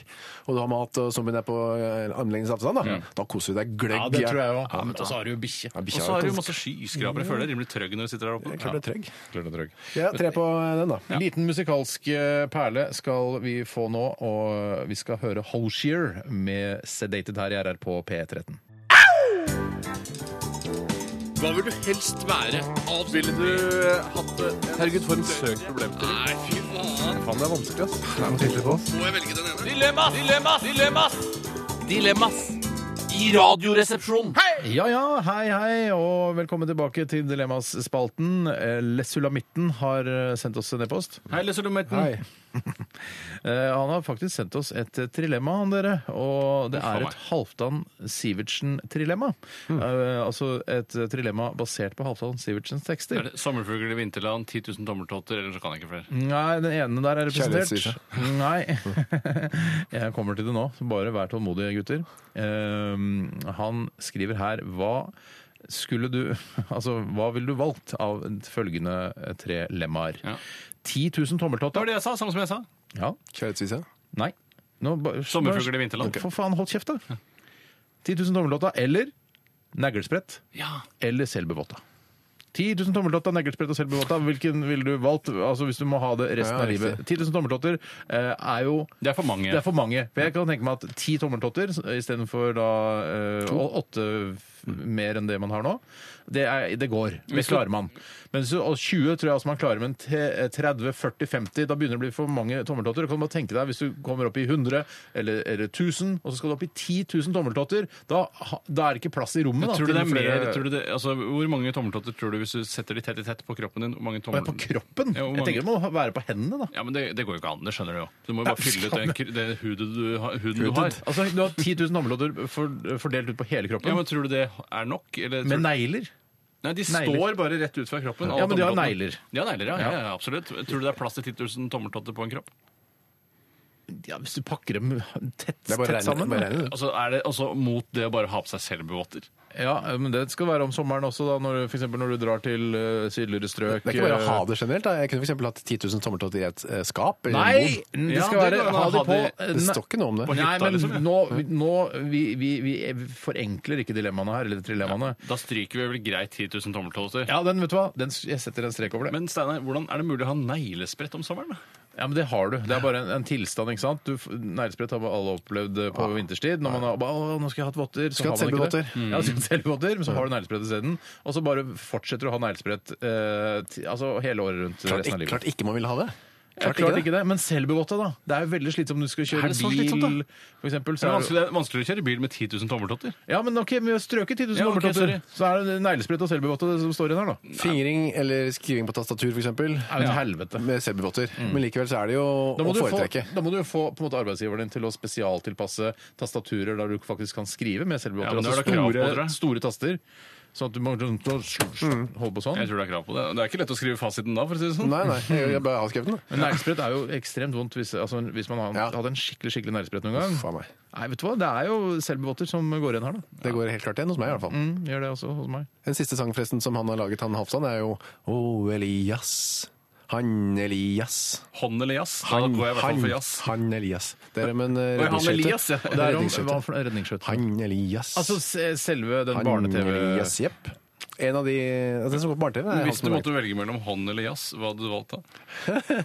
og du har mat og zombien er på eh, armlengdes avstand, da, da koser du deg gløgg.
Ja, det tror jeg òg.
Ja, men
og så har du jo bikkje.
Ja,
Og
bikkja
så har
er
du
jo
masse skyskrapere. Jeg føler deg rimelig trøgg når du sitter der oppe.
ganske- klart det er trygg.
Klart og trygg.
Ja, tre på den, da.
Liten musikalsk eh, perle skal vi få nå, og vi skal høre Holshear med Sedated her i RR på P13. Ja ja, hei hei, og velkommen tilbake til Dilemmas-spalten. Eh, Lesulamitten har eh, sendt oss en e-post.
Hei, Lesolometen.
Hei.
Eh, Han har faktisk sendt oss et eh, trilemma, han dere. Og det
Å, faen
er
meg. Hmm.
et Halvdan Sivertsen-trilemma. Eh, altså et eh, trilemma basert på Halvdan Sivertsens tekster.
Er det Sommerfugler i vinterland, 10 000 tommeltotter, eller så kan jeg ikke flere.
Nei, den ene der er representert.
Kjærlighetssyke.
Nei. Jeg kommer til det nå, så bare vær tålmodige, gutter. Ehm, han skriver her hva skulle du Altså, hva ville du valgt av følgende tre lemmaer?
Ja.
10 000
Det var
tommeltotter.
det jeg sa, samme som jeg sa.
Ja.
Kjærlighetsvise.
Nei. Nå ba-
Sommerfugler i vinterland.
For faen, hold kjeft, da. 10 000 tommeltotter eller neglesprett
Ja.
eller selvbevotta. 10 000 tommeltotter, neglesprett og selvbevotta. Hvilken ville du valgt altså hvis du må ha det resten
Ja,
av livet? 10 000 tommeltotter eh, er jo
Det er for mange.
det er for mange. For jeg kan tenke meg at ti tommeltotter istedenfor da eh, å- åtte f- mer enn det man har nå, det, er, det går. Det
Hvis du-
klarer man. Men så, og 20 tror jeg altså man klarer, men te- 30, 40, 50 Da begynner det å bli for mange tommeltotter. Du kan bare tenke deg hvis du kommer opp i 100 eller, eller 1000, og så skal du opp i 10 000 tommeltotter, da, ha- da er det ikke plass i rommet. Da,
Tror du
til
det er
flere-
mer, tror du det, altså, hvor mange tommeltotter tror du hvis du setter de tett i tett på kroppen din? Hvor mange
Men
tommel...
på kroppen?
Ja, hvor
Jeg
mange-
tenker det må være på hendene, da.
Ja, men det, det går jo ikke an, det skjønner du jo. Du må jo
Nei,
bare fylle ut den, kr- det huden du, har- huden du har.
Altså, du har 10 000 tommeltotter for, fordelt ut på hele kroppen.
Ja, men Tror du det er nok? Eller, tror...
med negler.
Nei, de
negler.
står bare rett ut fra kroppen. alle
Ja, men de har
tommeltottene.
negler.
De har negler, ja, ja, ja, absolutt. Tror du det er plass til 10 000 tommeltotter på en kropp?
Ja, hvis du pakker dem tett,
Det er bare
tett sammen. da.
regnet.
Altså, er det altså, Mot det å bare ha på seg selvbevotter?
Ja, men det skal være om sommeren også, da, når, for eksempel når du drar til eh, sydligere strøk.
Det er ikke bare å ha
eh,
det generelt. Da. Jeg kunne f.eks. hatt 10 000 tommeltotter i et eh, skap. Eller
Nei!
en bod.
Det
Ja,
skal
det
være
går an å
ha det
ha
på eh,
det-
Det står ikke noe om det.
På
Nei,
hytta,
men
liksom, ja.
nå, nå vi, vi, vi forenkler ikke dilemmaene her, eller trilemmaene.
Da stryker vi vel greit 10 000 tommeltotter.
Ja, den, vet du hva? Den, jeg setter en strek over det.
Men Steinar, hvordan er det mulig å ha neglesprett om sommeren? da?
Ja, men Det har du. Det er bare en, en tilstand. ikke sant? Du f- Neglesprett har alle opplevd eh, på vinterstid. Når man har bare, å, 'Nå skal jeg ha hatt votter', så
Skulle
har
hatt
man ikke det. Mm.
selvbevotter.
Ja, skulle hatt selvvotter,
Mm.
Men så har du neglesprett isteden. Og så bare fortsetter du å ha neglesprett eh, ti- altså hele året rundt.
Klart,
resten av
ikke,
livet.
klart ikke man vil ha det.
Ja, klart ikke det, men selvbevotta, da. Det er jo veldig slitsomt om du skal
Er
kjøre
det så slitsomt, da?
bil, for eksempel.
Det
Så
er,
er det...
vanskelig, det er vanskeligere å kjøre bil med 10 000 tommeltotter.
Ja, men ok, vi har strøket 10 000
Ja, ok,
tommeltotter.
sorry.
så er det neglesprett og selvbevotta det som står igjen her, da.
Fingring eller skriving på tastatur, f.eks.
Er jo en helvete.
Med selvbevotter. Men likevel så er det jo
Mm. Da må,
å
du få,
foretrekke.
da må du jo få på en måte, arbeidsgiveren din til å spesialtilpasse tastaturer der du faktisk kan skrive med
Ja,
selvbevotter.
men det er
altså
det krav på, tror
store,
jeg.
store taster. Sånn at du må holde på sånn.
Jeg tror det er krav på det. Det er ikke lett å skrive fasiten da, for å si det sånn.
Nei, nei,
Mm.
jeg, jeg bare har skrevet den.
Men neglesprett er jo ekstremt vondt hvis, altså, hvis man har,
Ja.
hadde en skikkelig skikkelig neglesprett noen gang.
Faen meg.
Nei, vet du hva? Det er jo selvbevotter som går igjen her, da.
Det går helt klart igjen hos meg, i hvert fall.
Mm, gjør det også hos meg.
Den siste sangen forresten som han har laget, han Halvdan, er jo Å, Elias. Han Elias.
Hånd eller jazz? Da
Han,
går jeg i hvert fall for
han,
jazz.
han Elias. Det er om en eh,
Oi, han
redningsskøyte.
Elias, ja.
Det
Og det
er
er om
redningsskøyte.
hva for noe redningsskøyte?
Han Elias.
Altså se- selve den
han
barne-TV
Elias, jepp. En av de altså, Den som går på barne-TV, er han
Hvis du
som har laget
måtte velge mellom hånd eller jazz, hva hadde du valgt da?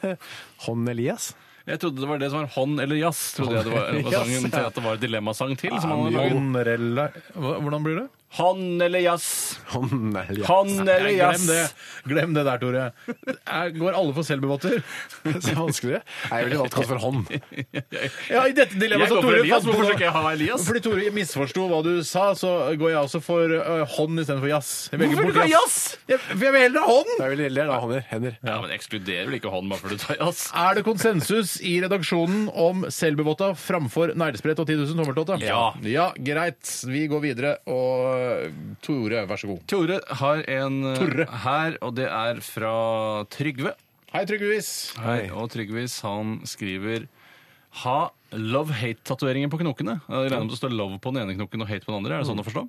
Han Elias.
Jeg trodde det var det som var hånd eller jazz. Trodde jeg det var,
eller
var
jazz,
sangen til at det var dilemmasang til. Som han hadde laget.
Håndrella Hva- Hvordan blir det?
Hånd eller jazz?
Han Elias.
Hånd eller
Nei,
jazz?
glem det. Glem det der, Tore. Er- Går alle for selvbevotter?
Så vanskeligere. Nei, jeg ville valgt kalt for hånd.
Ja, i dette
Jeg
dilemmaet
går
så
for
Tore
Elias.
fant
Hvorfor skal
på
ikke jeg ha Elias?
fordi Tore misforsto hva du sa, så går jeg også for uh, hånd istedenfor jazz. Jeg velger bort Jeg, for jeg vil heller ha hånd!
Jeg ville heller ha hånder. Hender.
Ja, men ekskluderer vel ikke hånd bare fordi du tar jazz?
Er det konsensus i redaksjonen om selvbevotta framfor neglesprett og 10 000 tommeltotter?
Ja.
ja. Greit. Vi går videre, og uh, Tore, vær så god.
Tore har en eh,
Tore.
her, og det er fra Trygve.
Hei, Tryggevis.
Hei. Og Trygvis han skriver ha love-hate-tatoveringer på knokene. Jeg regner med at det står love på den ene knoken og hate på den andre. Er det sånn å forstå?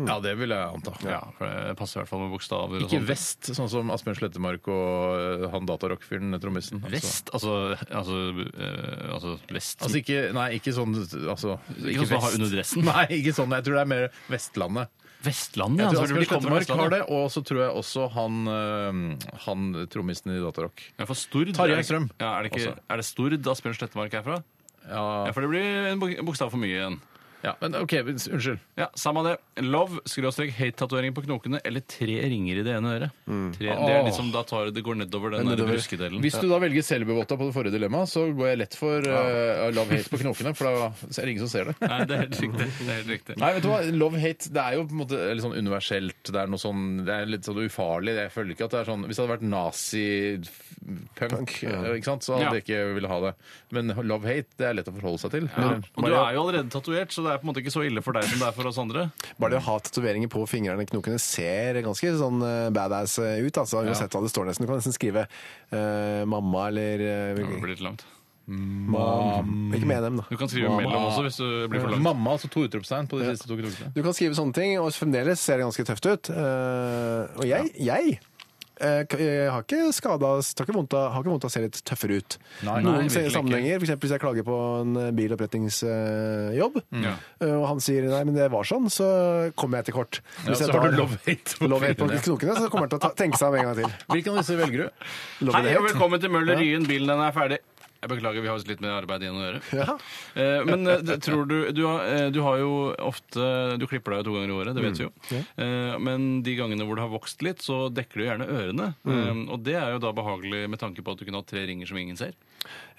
Ja, det vil jeg anta.
Ja, for det passer i hvert fall med bokstaver. og
Ikke
sånt.
vest, sånn som Asbjørn Slettemark og eh, han datarockfyren, trommisen. Altså.
Vest? Altså, altså, eh, altså vest
Altså ikke, nei, ikke sånn altså,
Ikke sånn som har under dressen?
Nei, ikke sånn. Jeg tror det er mer Vestlandet.
Vestlandet?
Jeg tror
altså,
Asbjørn
de kommer fra
Slettemark har
Vestlandet.
det, og så tror jeg også han, eh, han trommisen i Datarock.
Ja, for Stord
Tarjei
er det-
Strøm.
Ja, er, det ikke,
Også.
er det Stord Asbjørn Slettemark er fra?
Ja,
Ja, for det blir en bok- bokstav for mye igjen.
ja, men OK, men s- unnskyld.
Ja, Samme det. Love, skråstrek, hate-tatoveringer på knokene eller tre ringer i det ene øret. Tre, det er liksom da tar det går nedover den der bruskedelen.
Hvis du da velger selvbevotta på det forrige dilemmaet, så går jeg lett for eh, love hate på knokene, for da er det ingen som ser det.
Nei, det er helt riktig. Det er helt riktig.
Nei, vet du hva? Love hate det er jo på en måte litt sånn universelt. Det er noe sånn, det er litt sånn ufarlig. Jeg føler ikke at det er sånn Hvis det hadde vært nazipunk, eh, ikke sant, så hadde
Ja.
jeg ikke ville ha det. Men love hate det er lett å forholde seg til.
Ja.
Men-
Og du er jo allerede tatovert, så det er på en måte ikke så ille for deg som det er for oss andre.
Bare det å ha tatoveringer på fingrene og knokene ser ganske sånn eh, badass eh, ut. Altså, uansett hva det står nesten. Du kan nesten skrive eh, mamma eller eh,
Det blir litt langt.
mam- Ikke med NM,
Du
da.
kan skrive
Mamma.
mellom også hvis du blir for langt.
Mamma, altså to utropstegn på de siste to knokene.
Du kan skrive sånne ting, og fremdeles ser det ganske tøft ut. Eh, og jeg, jeg eh, k- jeg har ikke skada Har ikke vondt av har ikke vondt av å se litt tøffere ut.
Nei,
Noen
nei,
ser-
virkelig ikke.
sammenhenger, f.eks. hvis jeg klager på en eh, bilopprettingsjobb,
Mm. Ja.
eh, og han sier 'nei, men det var sånn', så kommer jeg til kort.
Ja,
jeg
så har
tar
du love hate på
love hate på
fingrene.
knokene, så kommer han til å ta, tenke seg om en gang til.
Hvilken av disse velger du?
Love
Hei
and
og
hate.
velkommen til Møller Ryen. Bilen den er ferdig. Jeg beklager, vi har visst litt mer arbeid igjen å gjøre.
Ja.
Eh, Men eh, det- tror du du har, eh, du har jo ofte Du klipper deg jo to ganger i året, det vet vi jo.
Mm,
Eh, Men de gangene hvor det har vokst litt, så dekker du gjerne ørene.
Mm.
Eh, Og det er jo da behagelig med tanke på at du kunne hatt tre ringer som ingen ser.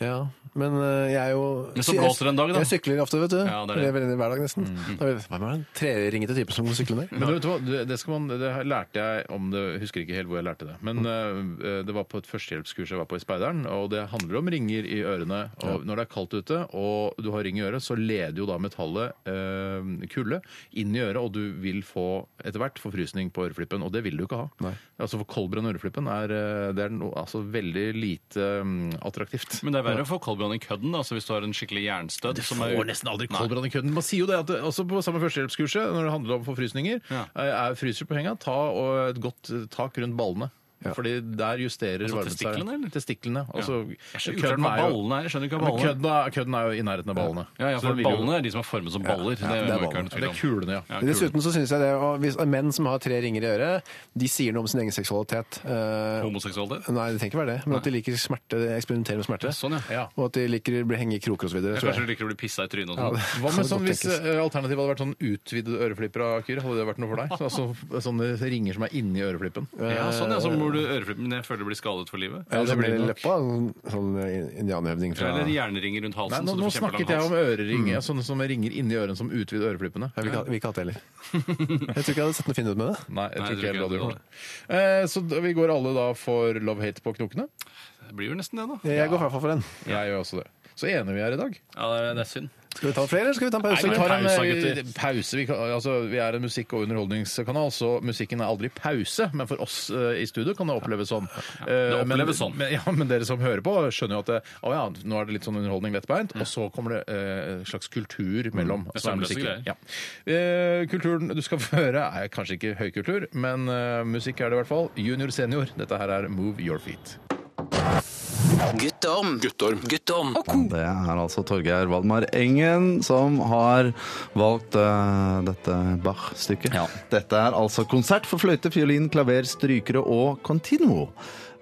Ja, men øh, jeg er jo
Men så blåser det en dag, da.
Jeg sykler ofte, vet du.
Ja, det Mm. er det.
Eller Veldig hver dag, nesten. Da er det- Hva med den treringete typen som går syklende?
Men du vet hva, det, det, skal man, det her lærte jeg om det, jeg husker ikke helt hvor jeg lærte det. Men eh, det var på et førstehjelpskurs jeg var på i Speideren, og det handler om ringer i ørene. Og når det er kaldt ute og du har ring i øret, så leder jo da metallet eh, kulde inn i øret, og du vil få etter hvert forfrysning på øreflippen, og det vil du ikke ha. Altså for koldbrann i øreflippen er, eh, det er no, altså veldig lite mm, attraktivt.
Men det er verre å få koldbrann i kødden da, altså hvis du har en skikkelig jernstødd.
Det
som
får
er-
nesten aldri koldbrann i kødden. Man sier jo det at det, også på samme førstehjelpskurset, når det handler om forfrysninger,
Ja.
eh, er fryser på henga, ta og et godt eh, tak rundt ballene. Fordi der justerer
Altså
varmen seg.
testiklene, eller?
Testiklene. Altså,
Ja. Jeg skjønner ikke hva ballene er. Jeg skjønner ikke hva
Men
ballene er.
kødden, er, kødden er jo i nærheten av ballene.
Ja, ja,
Så
for
det vil jo-
ballene er de som er formet som baller. det,
det er
må ikke være noe
ballene.
Det
tvil
er
om.
kulene, ja.
Ja,
Men
kul.
Dessuten så synes jeg det, og hvis menn som har tre ringer i øret, de sier noe om sin egen seksualitet. Eh,
Homoseksualitet?
Nei, det trenger ikke være det, men at de liker smerte, eksperimentere med smerte.
Sånn, ja.
Ja.
Og at de liker å bli henge i kroker osv.
Jeg Kanskje du liker å bli pissa i trynet og sånn.
Hva med sånn hvis eh, alternativet hadde vært sånn utvidede øreflipper av Kyrre? Hadde det vært noe for deg? Så, altså, sånne ringer som er inni øreflippen?
Ja, sånn ja, så må du øreflippen men jeg føler du blir skadet for livet.
Ja, det blir
det nok.
leppa. Sånn, sånn indianerhøvding fra
Eller
jeg
jernringer rundt
Nei,
halsen.
nå,
så du
nå
får kjempelang
snakket jeg om
hals.
øreringer, sånne som ringer inni ørene som utvider øreflippene.
vil ikke ha- vil ikke ha det heller. Jeg tror ikke jeg hadde sett noe fint ut med det.
Nei, jeg
Nei,
tror
jeg
ikke jeg
tror
hadde
ikke
gjort det. Eh, Så da- vi går alle da for love-hate på knokene?
Det blir jo nesten det, da.
Jeg går i hvert fall for den.
Jeg gjør også det. Så enige vi er i dag.
Ja, Det er synd.
Skal vi ta flere, eller skal vi ta en pause?
vi
eller?
tar en
pause,
eh,
gutter.
pause. Vi, kan, altså, vi er en musikk- og underholdningskanal, så musikken er aldri pause. Men for oss eh, i studio kan det oppleves sånn. Eh, men-
oppleves sånn.
Men, ja, men dere som hører på, skjønner jo at det, å ja, nå er det litt sånn underholdning
Mm.
lettbeint, og så kommer det eh, en slags kultur mellom.
Det er
som
sømløse
musikken. Ja. Eh, kulturen du skal få høre, er kanskje ikke høykultur, men eh, musikk er det i hvert fall. Junior senior. Dette her er Move Your Feet.
Guttorm.
Guttorm.
Guttorm.
Det er altså Torgeir Valmar Engen som har valgt eh, dette Bach-stykket. Dette er altså konsert for fløyte, fiolin, klaver, strykere og continuo.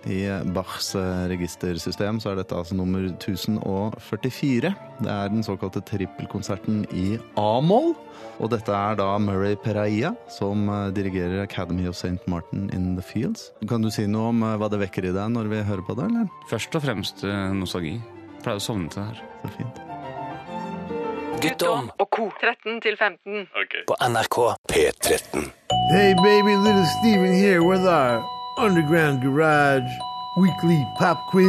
I Bachs eh, registersystem så er dette altså nummer 1044. Det er den såkalte trippelkonserten i A-moll. Og dette er da Murray Peraia som eh, dirigerer Academy of St. Martin in the Fields. Kan du si noe om eh, hva det vekker i deg når vi hører på det, eller?
Først og fremst eh, nostalgi. Jeg Pleier å sovne til det her.
Så fint.
Guttorm
Og ko.
13 til 15.
på NRK.
P13.
Hey baby, little Steven here with our Underground Garage weekly pop quiz.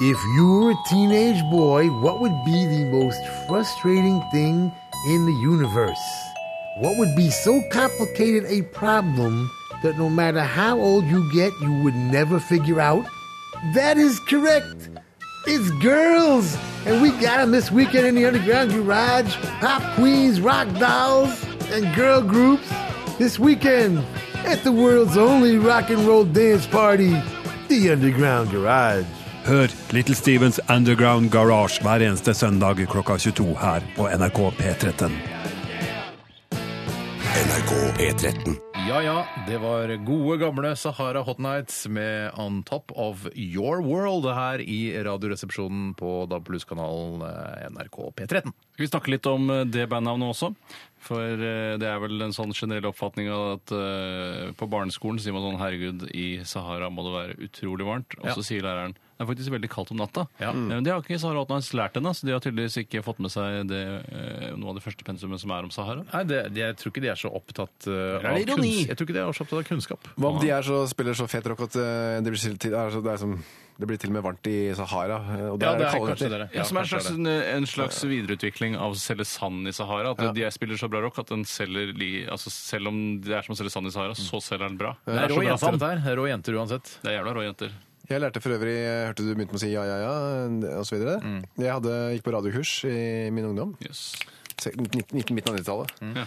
If you were a teenage boy, what would be the most frustrating thing in the universe? What would be so complicated a problem that no matter how old you get, you would never figure out? That is correct. It's girls.
And we got them this weekend in the Underground Garage. Pop queens, rock dolls, and girl groups. This weekend at the world's only rock and roll dance party, the Underground Garage.
Hør Little Stevens Underground Garage hver eneste søndag klokka 22 her på NRK P13.
NRK P13.
Ja ja, det var gode gamle Sahara Hot Nights med On Top of Your World her i Radioresepsjonen på DAB kanalen eh, NRK P13.
Skal vi snakke litt om eh, det bandnavnet også? For eh, det er vel en sånn generell oppfatning av at eh, på barneskolen sier man sånn herregud, i Sahara må det være utrolig varmt. Og
Ja.
så sier læreren det er faktisk veldig kaldt om natta.
Ja.
Eh, Men det har ikke Sahara Hotnights lært ennå, så de har tydeligvis ikke fått med seg det, eh, noe av det første pensumet som er om Sahara.
Nei, det, det, jeg tror ikke de er så opptatt eh,
Eller er
av
det ironi?
Jeg tror ikke de er så opptatt av kunnskap.
Hva om de er så, spiller så fet rock at eh, det blir til, til, er så, det, er som, det blir til og med varmt i Sahara? eh, Og der er det kaldere.
Ja, som er en slags, en, en slags videreutvikling av å selge sand i Sahara. At de spiller så bra rock at den selger li- altså Selv om det er som å selge sand i Sahara, så selger den bra.
Det er rå jenter, dette her. Det er Rå jenter uansett.
Det er jævla rå jenter.
Jeg lærte for øvrig, eh, hørte du begynte med å si ja, ja, ja, osv. videre
Mm.
Jeg hadde, gikk på radiokurs i min ungdom. Se- 19, 19, midten av 90-tallet.
Mm.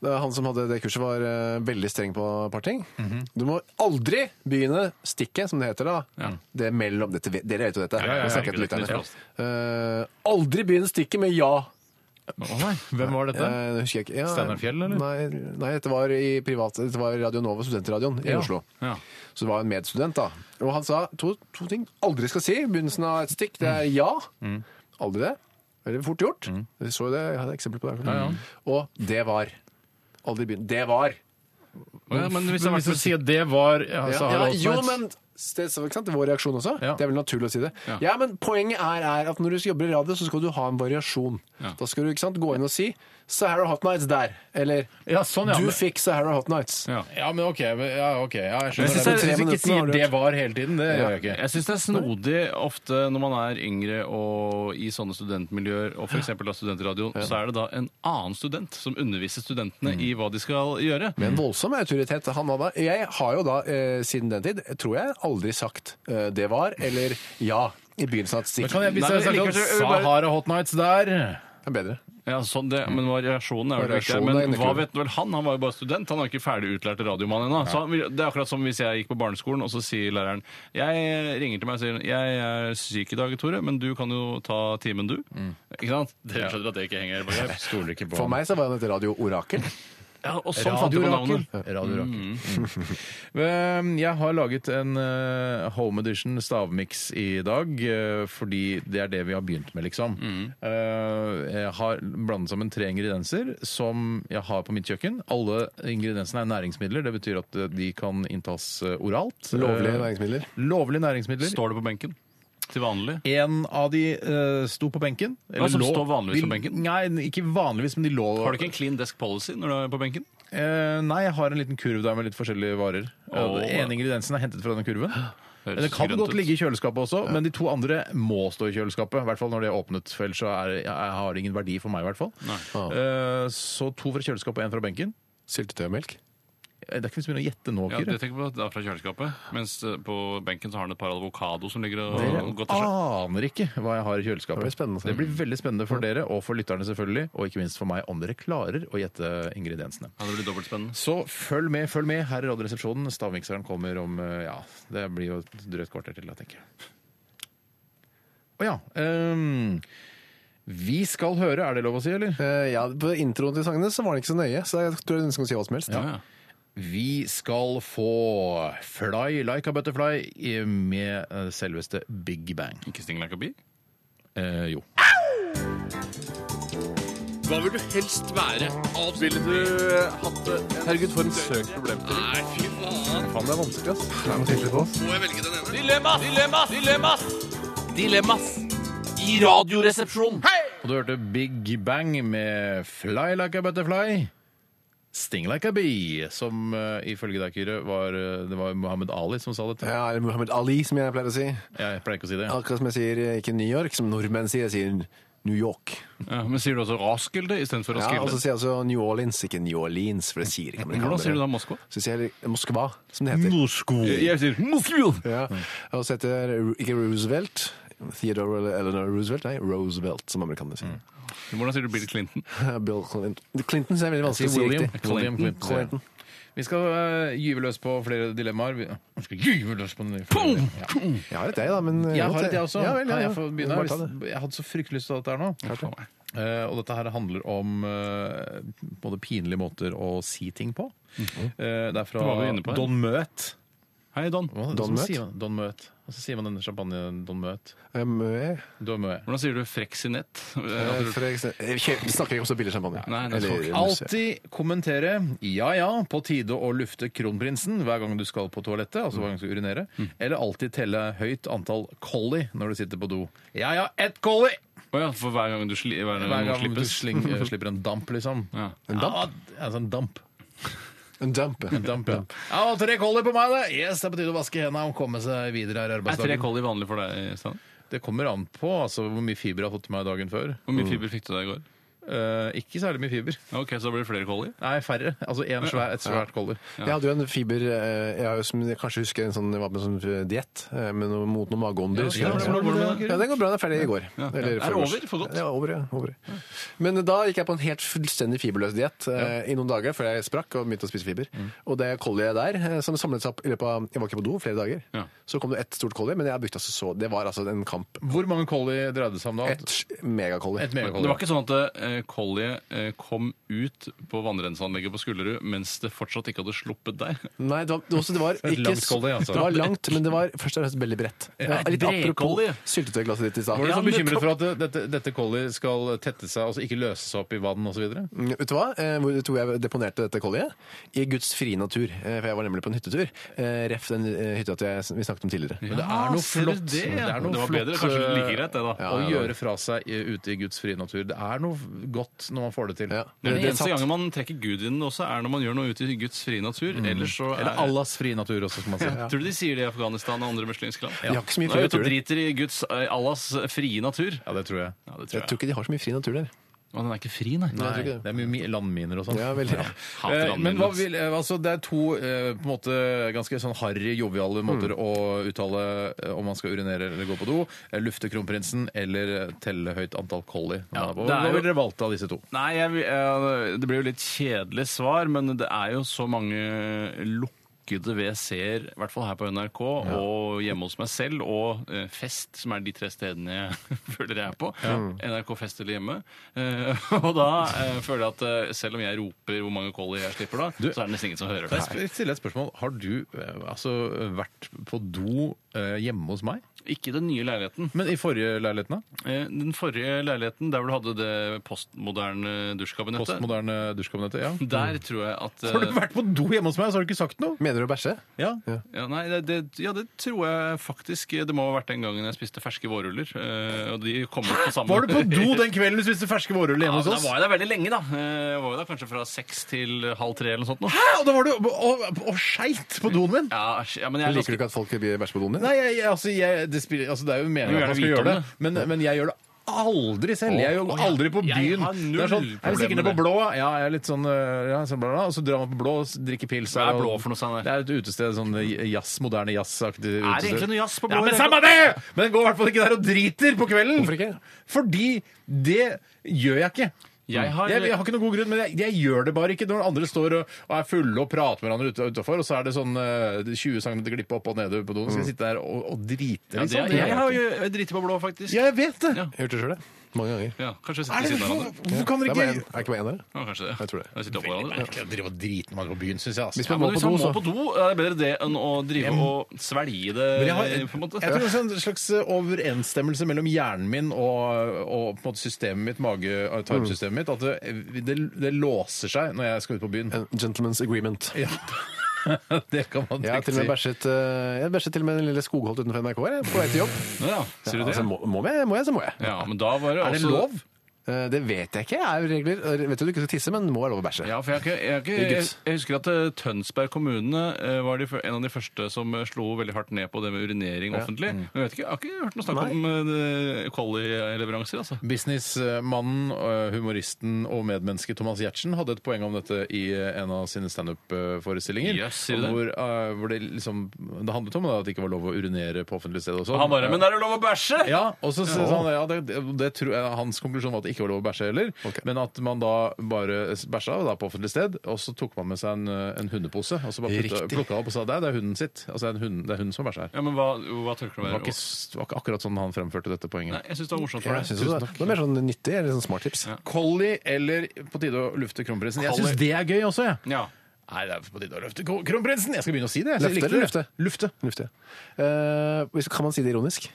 Det var Han som hadde det kurset, var eh, veldig streng på et par ting.
Mhm.
Du må aldri begynne stikket, som det heter da. Det mellom dette, vet- Dere vet jo dette.
Ja, ja, ja,
Nå snakker jeg til
herregud,
lytterne.
det
Eh, aldri begynne stikket med ja.
Hvem var dette?
Eh, det husker jeg ikke. Ja,
Steinar Fjell, eller?
Nei, nei, dette var i privat, dette var Radio Nova, studentradioen i
Ja.
Oslo. Så det var en medstudent, da. Og han sa to, to ting aldri skal si i begynnelsen av et stikk. Det er ja.
Mm.
Aldri det. Veldig fort gjort. Vi så jo det, jeg hadde eksempler på det.
Ja, ja.
Og det var. Aldri begynn. Det var.
Men, hvis det du sier det var ja,
Ja,
Sahara
ja,
Hot
jo,
Nights.
men det, så, ikke sant? det er vår reaksjon også. Det er vel naturlig å si det. Ja, men Poenget er, er at når du jobber i radio, så skal du ha en variasjon. Da skal du ikke sant, gå inn og si 'Sahara Hot Nights' der. Eller
Ja, sånn, ja,
'Du
men-
fikk Sahara Hot Nights'.
Ja.
men OK. men- Ja, ok, ja, jeg
Jeg
skjønner
synes
det.
det-
Men Hvis du
jeg
ikke
synes
sier
det-
det var hele tiden, det gjør jeg ikke.
Jeg syns det er snodig ofte når man er yngre og i sånne studentmiljøer, og f.eks. av studentradioen, så er det da en annen student som underviser studentene
Mm.
i hva de skal gjøre.
Med en voldsom autoritet. Han hadde, jeg har jo da, eh, siden den tid, tror jeg aldri sagt eh, 'det var' eller 'ja' i begynnelsen av et
Men
stikk.
kan jeg, hvis jeg
Nei,
snakker
likevel så-
om Sahara Hot Nights der Det
er bedre.
Ja, sånn det, men variasjonen er vel viktig.
Mm. Variasjonen er
Men
inne i
hva
kula.
vet vel han? Han var jo bare student. Han var ikke ferdig utlært radiomann ennå. Så han vil- Det er akkurat som hvis jeg gikk på barneskolen, og så sier læreren Jeg ringer til meg og sier Jeg er syk i dag, Tore, men du kan jo ta timen, du. Ikke sant? Dere skjønner at det ikke henger på greip.
Mm. Stoler ikke
For meg så var han et radioorakel.
Ja, og sånn fant du på navnet.
Radiorakel.
Mm.
Um, Jeg har laget en eh, home edition stavmiks i dag, eh, fordi det er det vi har begynt med, liksom.
Mm.
Eh, Jeg har blandet sammen tre ingredienser som jeg har på mitt kjøkken. Alle ingrediensene er næringsmidler, det betyr at eh, de kan inntas eh, oralt.
Lovlige
Eh,
næringsmidler.
Lovlige næringsmidler.
Står det på benken? Til vanlig?
En av de eh, sto på benken.
Hva som
lå.
står vanligvis på
De-
benken?
Nei, ikke vanligvis, men de lå
Har du ikke en clean desk policy når du er på benken?
Eh, nei, jeg har en liten kurv der med litt forskjellige varer.
Åh.
Og Den ene ingrediensen er hentet fra den kurven.
Høres
Den kan
grønt
godt
ut.
ligge i kjøleskapet også, men de to andre må stå i kjøleskapet. I hvert fall når de er åpnet, for ellers så er, jeg- har det ingen verdi for meg. I hvert fall. Eh, så to fra kjøleskapet og én fra benken. Eh,
Syltetøy og melk?
Det er ikke vits å begynne å gjette nå,
Ja,
Kyrre.
jeg tenker på at det er fra kjøleskapet. Mens eh, på benken så har han et par avokado som ligger og
Dere
godt til seg.
aner ikke hva jeg har i kjøleskapet.
Det blir spennende.
det blir veldig spennende for dere og for lytterne, selvfølgelig. Og ikke minst for meg, om dere klarer å gjette ingrediensene.
Ja, det blir dobbelt spennende.
Så følg med, følg med her i Radioresepsjonen. Stavmikseren kommer om eh, ja, det blir jo et drøyt kvarter til, da, tenker jeg. Å ja. ehm, vi skal høre, er det lov å si, eller?
Eh, ja, på introen til sangene så var det ikke så nøye, så jeg tror jeg ønsker å si hva som helst.
Ja. Vi skal få Fly Like a Butterfly i- med eh, selveste Big Bang.
Ikke Sting Like a Bee?
Eh, jo.
Hva vil du helst være? Ville du hatt det? Herregud, for en søk problemstilling. Nei, fy faen.
Faen, det er vanskelig, ass. Det er noe tydelig på oss.
Må jeg velge den ene? Dilemmas! Dilemmas! Dilemmas! Dilemmas i Radioresepsjonen.
Og du hørte Big Bang med Fly Like a Butterfly. Sting Like a Bee, som eh, ifølge deg, Kyrre, var, eh, det var Muhammad Ali som sa dette.
Ja, eller Muhammad Ali, som jeg pleier å si.
Jeg pleier ikke å si det.
Akkurat som jeg sier eh, ikke New York, som nordmenn sier. Jeg sier New York.
Ja, men sier du også Raskilde istedenfor
Ja, og så
Raskilde?
sier jeg altså New Orleans, ikke New Orleans, for det sier ikke amerikanere.
Hvordan sier du da Moskva?
Så sier jeg heller Moskva, som det heter.
Mm.
Moskva. Jeg- jeg sier Moskva!
Ja. Og så heter det Ru- ikke Roosevelt, Theodore Eleanor Roosevelt, nei, Roosevelt, som amerikanerne sier.
Hvordan sier du Bill Clinton?
Bill Clinton. Clinton er veldig vanskelig å si
Mm. William.
riktig.
William Clinton.
Clinton.
Vi skal øh, gyve løs på flere dilemmaer. Vi vi skal gyve løs på den flere. Ja.
Jeg har et jeg, da, men
Jeg har et, jeg også.
Ja, vel, ja,
Kan
ja.
Jeg, få begynne,
Bare ta det.
Hvis- jeg hadde så fryktelig lyst til å ta dette her nå. Eh, og dette her handler om eh, både pinlige måter å si ting på.
Mhm.
Eh, det er fra
Det var vi inne på her.
Don Møt.
Hei, Don.
Hva,
Don
Don,
Møt?
Møt? Don Møt. Og så sier man denne champagnen Don Møt.
Mø.
Don Mø.
Hvordan sier du freksinett?
Eh, freksinett.
Jeg kjøper- snakker ikke om så billig champagne.
Nei, nei,
Eller-
takk.
Alltid kommentere 'ja ja, på tide å lufte kronprinsen' hver gang du skal på toalettet, altså hver gang du skal urinere. Eller alltid telle høyt antall collie når du sitter på do. Ja ja, ett collie!
Å ja, for hver gang du, sli, hver gang
Hver
noen
gang du
slippes.
sling, eh, slipper en damp, liksom. Ja.
En damp?
Ja, altså en damp.
En damp.
En damp, ja. ja og tre collie på meg, det! Yes, det er på tide å vaske hendene og komme seg videre her i
Er tre
arbeidsdagen.
kolli vanlig for deg, Stan?
Det kommer an på altså, hvor mye fiber jeg har fått i meg dagen før.
Hvor mye fiber fikk du deg i går?
Eh, ikke særlig mye fiber.
Ok, Så da blir det flere kolli?
Nei, færre. Altså en svær, et svært kolder.
Jeg hadde jo en fiber eh, Jeg har jo som jeg kanskje husker en sånn, jeg var på en sånn diett eh, med noe, mot noen mageånder.
Ja,
husker
ja,
jeg.
hvordan går det med det?
Ja, den går bra. Den er ferdig i går.
Ja.
Eller
Er det
forgårs.
over for godt?
Ja, over, ja. Over. Men da gikk jeg på en helt fullstendig fiberløs diett eh, i noen dager før jeg sprakk og begynte å spise fiber. Og det colliet der, eh, som samlet seg opp i løpet av Jeg var ikke på do flere dager. Så kom det ett stort collie, men jeg brukte altså så Det var altså en kamp.
Hvor mange collie dreide det seg om da?
Et megacollie.
Et megacollie.
Det var ikke sånn at eh, colliet eh, kom ut på vannrenseanlegget på Skullerud mens det fortsatt ikke hadde sluppet deg?
Nei, det var, det var også, det var
Et
ikke
langt collie, altså.
Det var langt, men det var først og fremst veldig bredt.
Ja,
Ja,
et
litt apropos
bredcollie.
syltetøyglasset ditt i stad.
Var du
Ja,
så
men
bekymret
kom-
for at det- dette, dette collie skal tette seg, altså ikke løse seg opp i vann osv.?
Mm, Vet du hva? Eh, Hvor tror jeg deponerte dette colliet? I Guds frie natur. Eh, For jeg var nemlig på en hyttetur. Eh, Ref den eh, hytta til jeg s- vi snakket om tidligere.
Men det er noe flott. er noe
Det var bedre,
flott,
kanskje
eh,
like greit, det, da.
Å gjøre fra seg i- ute i Guds frie natur. Det er noe godt når man får det til.
Det er Den eneste gangen man trekker Gud inn også, er når man gjør noe ute i Guds frie natur. Ellers så er,
Mhm. Eller Allahs frie natur også, som man sier.
Tror du de sier det i Afghanistan og andre muslimske land?
Ja. Jeg har ikke så mye
Nå er vi
fri
ute og
natur.
driter i Guds, eh, Allahs frie natur.
Ja, det tror jeg.
det tror
Jeg tror ikke de har så mye fri natur der.
Å, den er ikke fri, nei.
Nei, det er mye mi- landminer og sånn.
Ja, veldig.
Hater
Eh, Men hva
landminer,
vil, eh, altså, det er to eh, på en måte ganske sånn harry, joviale
Mm.
måter å uttale eh, om man skal urinere eller gå på do. Eh, Lufte kronprinsen eller telle høyt antall collie. Ja,
det er
hva
jo-
ville dere valgt av disse to?
Nei, jeg, vil- eh, det blir jo litt kjedelig svar, men det er jo så mange lukkede WC-er, i hvert fall her på NRK, og hjemme hos meg selv, og eh, Fest, som er de tre stedene jeg føler jeg er på. NRK Fest eller hjemme. Eh, og da eh, føler jeg at eh, selv om jeg roper hvor mange collie jeg slipper da, så er det nesten ingen som hører det.
Kan Jeg stiller et spørsmål. Har du eh, altså, vært på do eh, hjemme hos meg?
Ikke den nye leiligheten.
Men i forrige leiligheten, da?
Eh, Den forrige leiligheten, der hvor du hadde det postmoderne dusjkabinettet
Postmoderne dusjkabinettet, ja.
Der tror jeg at eh,
Har du vært på do hjemme hos meg, og så har du ikke sagt noe?
Mener du å bæsje?
Ja.
Ja, nei, det, det, ja, det tror jeg faktisk. Det må ha vært den gangen jeg spiste ferske vårruller. eh, Og de kom ut på samme
Var du på do den kvelden du spiste ferske vårruller
Ja,
hjemme
men
hos
da
oss?
var jeg der veldig lenge, da. Eh, Jeg var jo der kanskje fra seks til halv tre eller noe sånt. nå.
Hæ! Og da var du og, og, og skeit på doen min?
Ja, ja, men jeg er
Liker du
ganske...
ikke at folk blir bæsje på doen din?
Nei, jeg, jeg, altså, jeg, det, spiller, altså, det er jo meningen
Du
at
gjerne
man skal
vite
gjøre det,
om
men, men jeg gjør det aldri selv.
Å,
Jeg er jo
å, ja.
aldri på
Jeg
byen.
har null
Det er sånn, er vi
problem
sikre
med
på blå? Ja, jeg er litt sånn, øh, ja, sånn bla, bla, bla. Og så drar man på blå, s- drikker pils.
Hva er
og-
blå for noe sånn der?
Det er et utested, sånn jazz, moderne jazzaktig utested.
Er det egentlig noe jazz på blå?
Ja, men samme det! Men gå i hvert fall ikke der og driter på kvelden.
Hvorfor ikke?
Fordi det gjør jeg ikke.
Jeg har-
Mm. jeg, har ikke noen god grunn, men jeg, jeg gjør det bare ikke når andre står og, og er fulle og prater med hverandre ute- utafor, og så er det sånn eh, 20 cm glippe opp og nede på doen. Skal jeg sitte der og, og drite,
Mm. Ja, det,
liksom?
er- jeg har jo driti på blå, faktisk.
Ja, jeg vet det!
Ja.
Jeg har gjort det sjøl, Mange ganger.
Ja, kanskje jeg
Er
sitter ved
det-
siden av hverandre.
hvorfor- hvorfor kan dere
Det er bare
ikke
en- er det ikke bare én der?
Ja, kanskje det.
Jeg tror det.
Jeg sitter oppå hverandre.
Merkelig å drive og drite når man er på byen, syns jeg. Altså.
Hvis
Ja,
man
men
må på
hvis man
do,
må
så
på do, er det bedre det enn å drive og svelge det.
Men jeg, har,
Eh, på en måte.
jeg tror det er en slags eh, overensstemmelse mellom hjernen min og, og på en måte systemet mitt, mage-tarmsystemet mitt, at det, det, det låser seg når jeg skal ut på byen.
En gentleman's agreement.
Ja. det kan man
Jeg har
trygt
til og med
si.
bæsjet, eh, jeg bæsjet til og med den lille skogholt utenfor NRK her, jeg, på vei til jobb.
Ja, sier du det?
altså, må, må jeg, må jeg, så må jeg.
Ja, men da var det
altså, Er det
også-
lov?
Eh, Det vet jeg ikke. er regler. Eh, Vet du du ikke skal tisse, men må ha lov å bæsje.
Ja, for jeg, har ikke- jeg, har ikke-
I
jeg,
guss.
jeg husker at eh, Tønsberg kommune eh, var de, fø- en av de første som eh, slo veldig hardt ned på det med urinering
Ja.
offentlig.
Mm.
Men jeg, vet ikke, jeg har ikke hørt noe snakk om eh, Collie-leveranser, altså.
Businessmannen, eh, humoristen og medmennesket Thomas Giertsen hadde et poeng om dette i eh, en av sine standup-forestillinger.
Yes, sier du det?
hvor, eh, hvor det liksom Det handlet om da, at det ikke var lov å urinere på offentlig sted. Og sånn.
Han bare 'Men er det lov å bæsje?'
Ja, og så
Ja.
sa han ja, det, det, det tror jeg, Hans konklusjon var at det ikke var lov å bæsje heller, men at man da bare bæsja da, på offentlig sted, og så tok man med seg en, eh, en hundepose og så bare
Riktig.
putta- plukka opp og sa det, er- det er hunden sitt. Altså det er en hund, det er hunden som bæsjer her.
Ja, men hva, hva tørker du
Det
med?
var ikke, s- det var ikke akkurat sånn han fremførte dette poenget.
Nei, jeg syns det var morsomt for
Ja,
deg.
jeg synes også det.
Det er mer sånn nyttig eller sånn smart tips.
Collie eller på tide å lufte kronprinsen? Jeg syns det er gøy også, jeg. Nei, det er på tide å løfte ko- kronprinsen! Jeg skal begynne å si det. jeg. Så jeg
Løfte
likte
eller
det.
lufte?
Lufte.
Lufte. Eh, hvis- kan man si det ironisk?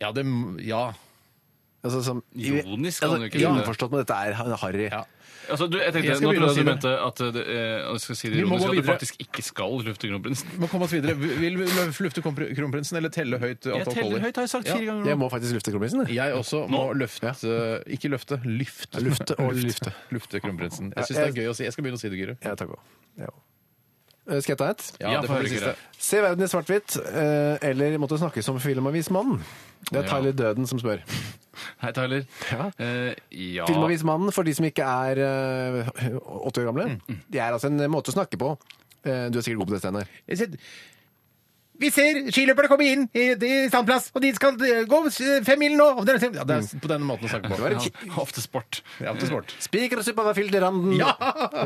Ja, det m- Ja.
Altså, som,
Ironisk kan
altså,
du ikke si det.
Innforstått med at dette er harry.
Altså, du, jeg tenkte,
Jeg
jeg
skal
nå
begynne
trodde jeg
å si
du
det.
mente at eh, det, eh, jeg skal si det
Vi må gå
ironisk, at du
videre.
faktisk ikke skal lufte kronprinsen.
Vi må komme oss videre. Vil vi løf- lufte kompr- kronprinsen eller telle høyt
teller
antall collier?
høyt, har jeg sagt fire ganger nå.
Jeg må faktisk lufte kronprinsen. jeg.
Jeg også må løfte eh, Ikke løfte, lyft.
Ja, lufte og lyfte.
Lufte kronprinsen.
Ja,
Jeg syns det
jeg-
er gøy å si. Jeg skal begynne å si det, Gyre.
Ja, takk også. Ja. Eh, Skal jeg ta et?
Ja, Ja, det får får bli jeg siste. høre.
Se verden i svart-hvitt, eh, eller måtte snakke som filmavismannen. Det er
Ja.
Tyler Døden som spør.
Hei, Tyler.
Ja.
Eh, ja.
Filmavismannen, for de som ikke er eh, 80 år
Mm,
gamle, det er altså en måte å snakke på. Eh, Du er sikkert god på dette, Steinar.
Vi ser skiløperne komme inn i, i standplass, og de skal eh, gå eh, fem mil nå. Og det er- Ja, det er
På denne måten å snakke på.
Det var en
Ofte sport.
Ja, ofte sport.
Spikersuppa var fylt i randen.
Ja!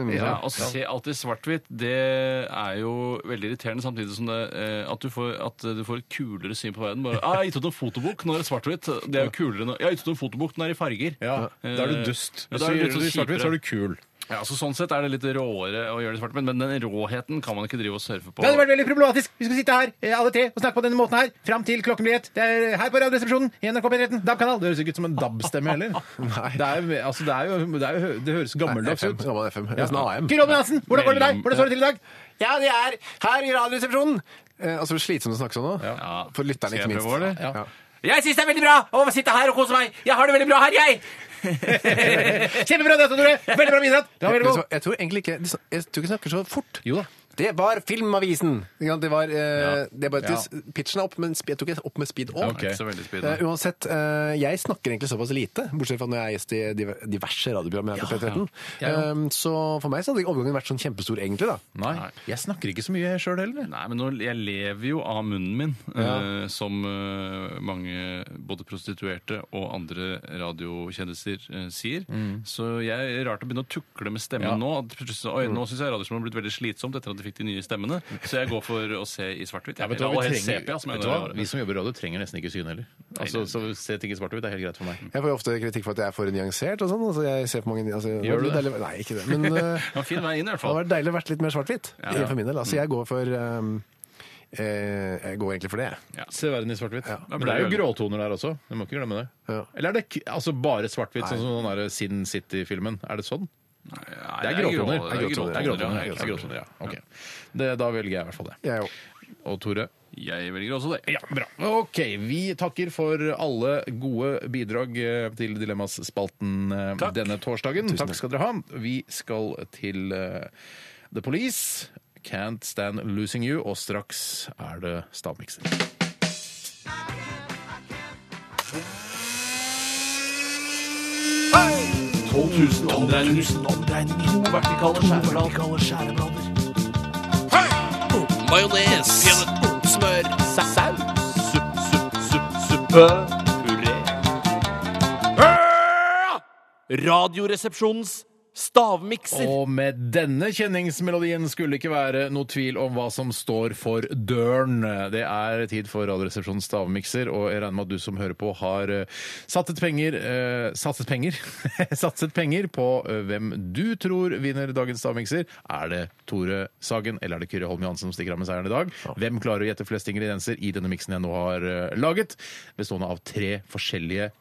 Mm,
ja,
ja.
Å se alt i svart-hvitt, det er jo veldig irriterende, samtidig som det, eh, at, du får, at du får et kulere syn på verden. Bare, ah, 'Jeg har gitt ut en fotobok, nå er det svart-hvitt'. Det er jo kulere nå. 'Jeg har gitt ut en fotobok, den er i farger'. Eh,
Ja, da er
Eh,
du dust.
Ja,
Hvis
da er
du
du
gjør
litt
det i
sånn
svart-hvitt, så er du kul.
Ja, så Sånn sett er det litt råere å gjøre det i svart-hvitt, men den råheten kan man ikke drive og surfe på.
Det hadde vært veldig problematisk. Vi skulle sitte her eh, alle tre og snakke på denne måten her fram til klokken blir ett. Det er her på Radioresepsjonen i NRK P13, DAB-kanal.
Det høres ikke ut som en DAB-stemme heller. Det, er, jo- altså, det, er jo, det, er jo, det høres gammeldags
FM,
ut.
gammel FM. Nesten AM.
Kyrre Holmen Hansen, hvordan går det med deg? Hvordan står det til i dag?
Ja, det er her i Radioresepsjonen! Eh, Altså, slitsomt å snakke sånn nå. For lytterne, ikke
Skal jeg
minst.
prøve å gjøre det?
Ja.
Jeg syns det er veldig bra å sitte her og kose meg. Jeg har det veldig bra her, jeg. Kjempebra det, Tore. Veldig bra bidratt. Det var
Men
veldig
så-
bra.
Jeg tror egentlig ikke de snak- Jeg tror ikke de snakker så fort. Det var Filmavisen! Ikke sant? Det var, eh, det er bare, at
Ja.
Pitchen er opp, men sp- jeg tok ikke opp med speed
Ja,
opp.
ikke så veldig speed, nei.
Eh, uansett, eh, jeg snakker egentlig såpass lite, bortsett fra når jeg er gjest i diver- diverse radioprogram her på P13.
Ja, ja.
Eh, så for meg så hadde ikke overgangen vært sånn kjempestor, egentlig. da.
Nei, jeg snakker ikke så mye sjøl heller.
Nei, men nå, jeg lever jo av munnen min,
Ja.
eh, som eh, mange både prostituerte og andre radiokjendiser eh, sier. Så jeg er rart å begynne å tukle med stemmen
Mm. Ja. Mm.
nå. At plutselig så- oi, nå syns jeg radioskolen har blitt veldig slitsomt etter at de fikk de nye stemmene. Så jeg går for å se i svart-hvitt.
Ja, vet du hva,
Eller helst
vi, trenger,
sepia, som jeg
vet du hva?
gjør.
vi som jobber i radio, trenger nesten ikke syn heller. Altså, så se ting i svart-hvitt er helt greit for meg.
Jeg får jo ofte kritikk for at jeg er for nyansert og sånn. Altså, jeg ser på mange altså,
Gjør du det?
deilig- Nei, ikke det. Men eh,
Det var en fin vei inn, i hvert
Det
fall.
hadde vært deilig å vært litt mer svart-hvitt.
Ja, ja.
For min del. Altså, jeg går for ehm, eh, Jeg går egentlig for det, jeg.
Se verden i svart-hvitt. Men det
blir
er jo
det
gråtoner der også. Du må ikke glemme det. Eller er det k- altså bare svart-hvitt, sånn som den der Sin City-filmen? Er det sånn?
det er
det er gråtoner.
grå- det er gråtoner,
Det er gråtoner,
ja, helt
ja. Det er
klart.
gråtoner, ja. Ok. Det, da velger jeg i hvert fall det. Og Tore?
Jeg velger også det.
Ja, bra. Ok, vi takker for alle gode bidrag eh, til Dilemmaspalten eh, denne torsdagen.
Tusen
Takk skal dere ha. Vi skal til eh, The Police. Can't Stand Losing You, og straks er det stavmikser.
Hei! 12 000 omdreininger. 12 000 omdreininger. To vertikale skjæreblader. Hei! Majones. Smør. Saus. Supp, supp, supp, suppe. Puré. Radioresepsjonens stavmikser.
Og med denne kjenningsmelodien skulle det ikke være noe tvil om hva som står for døren. Det er tid for Radioresepsjonens stavmikser, og jeg regner med at du som hører på har eh, satset penger eh, Satset penger? satset penger på eh, hvem du tror vinner dagens stavmikser. Er det Tore Sagen eller er det Kyrre Holm Johansen som stikker av med seieren i dag? Hvem klarer å gjette flest ingredienser i denne miksen jeg nå har eh, laget? Bestående av tre forskjellige eh,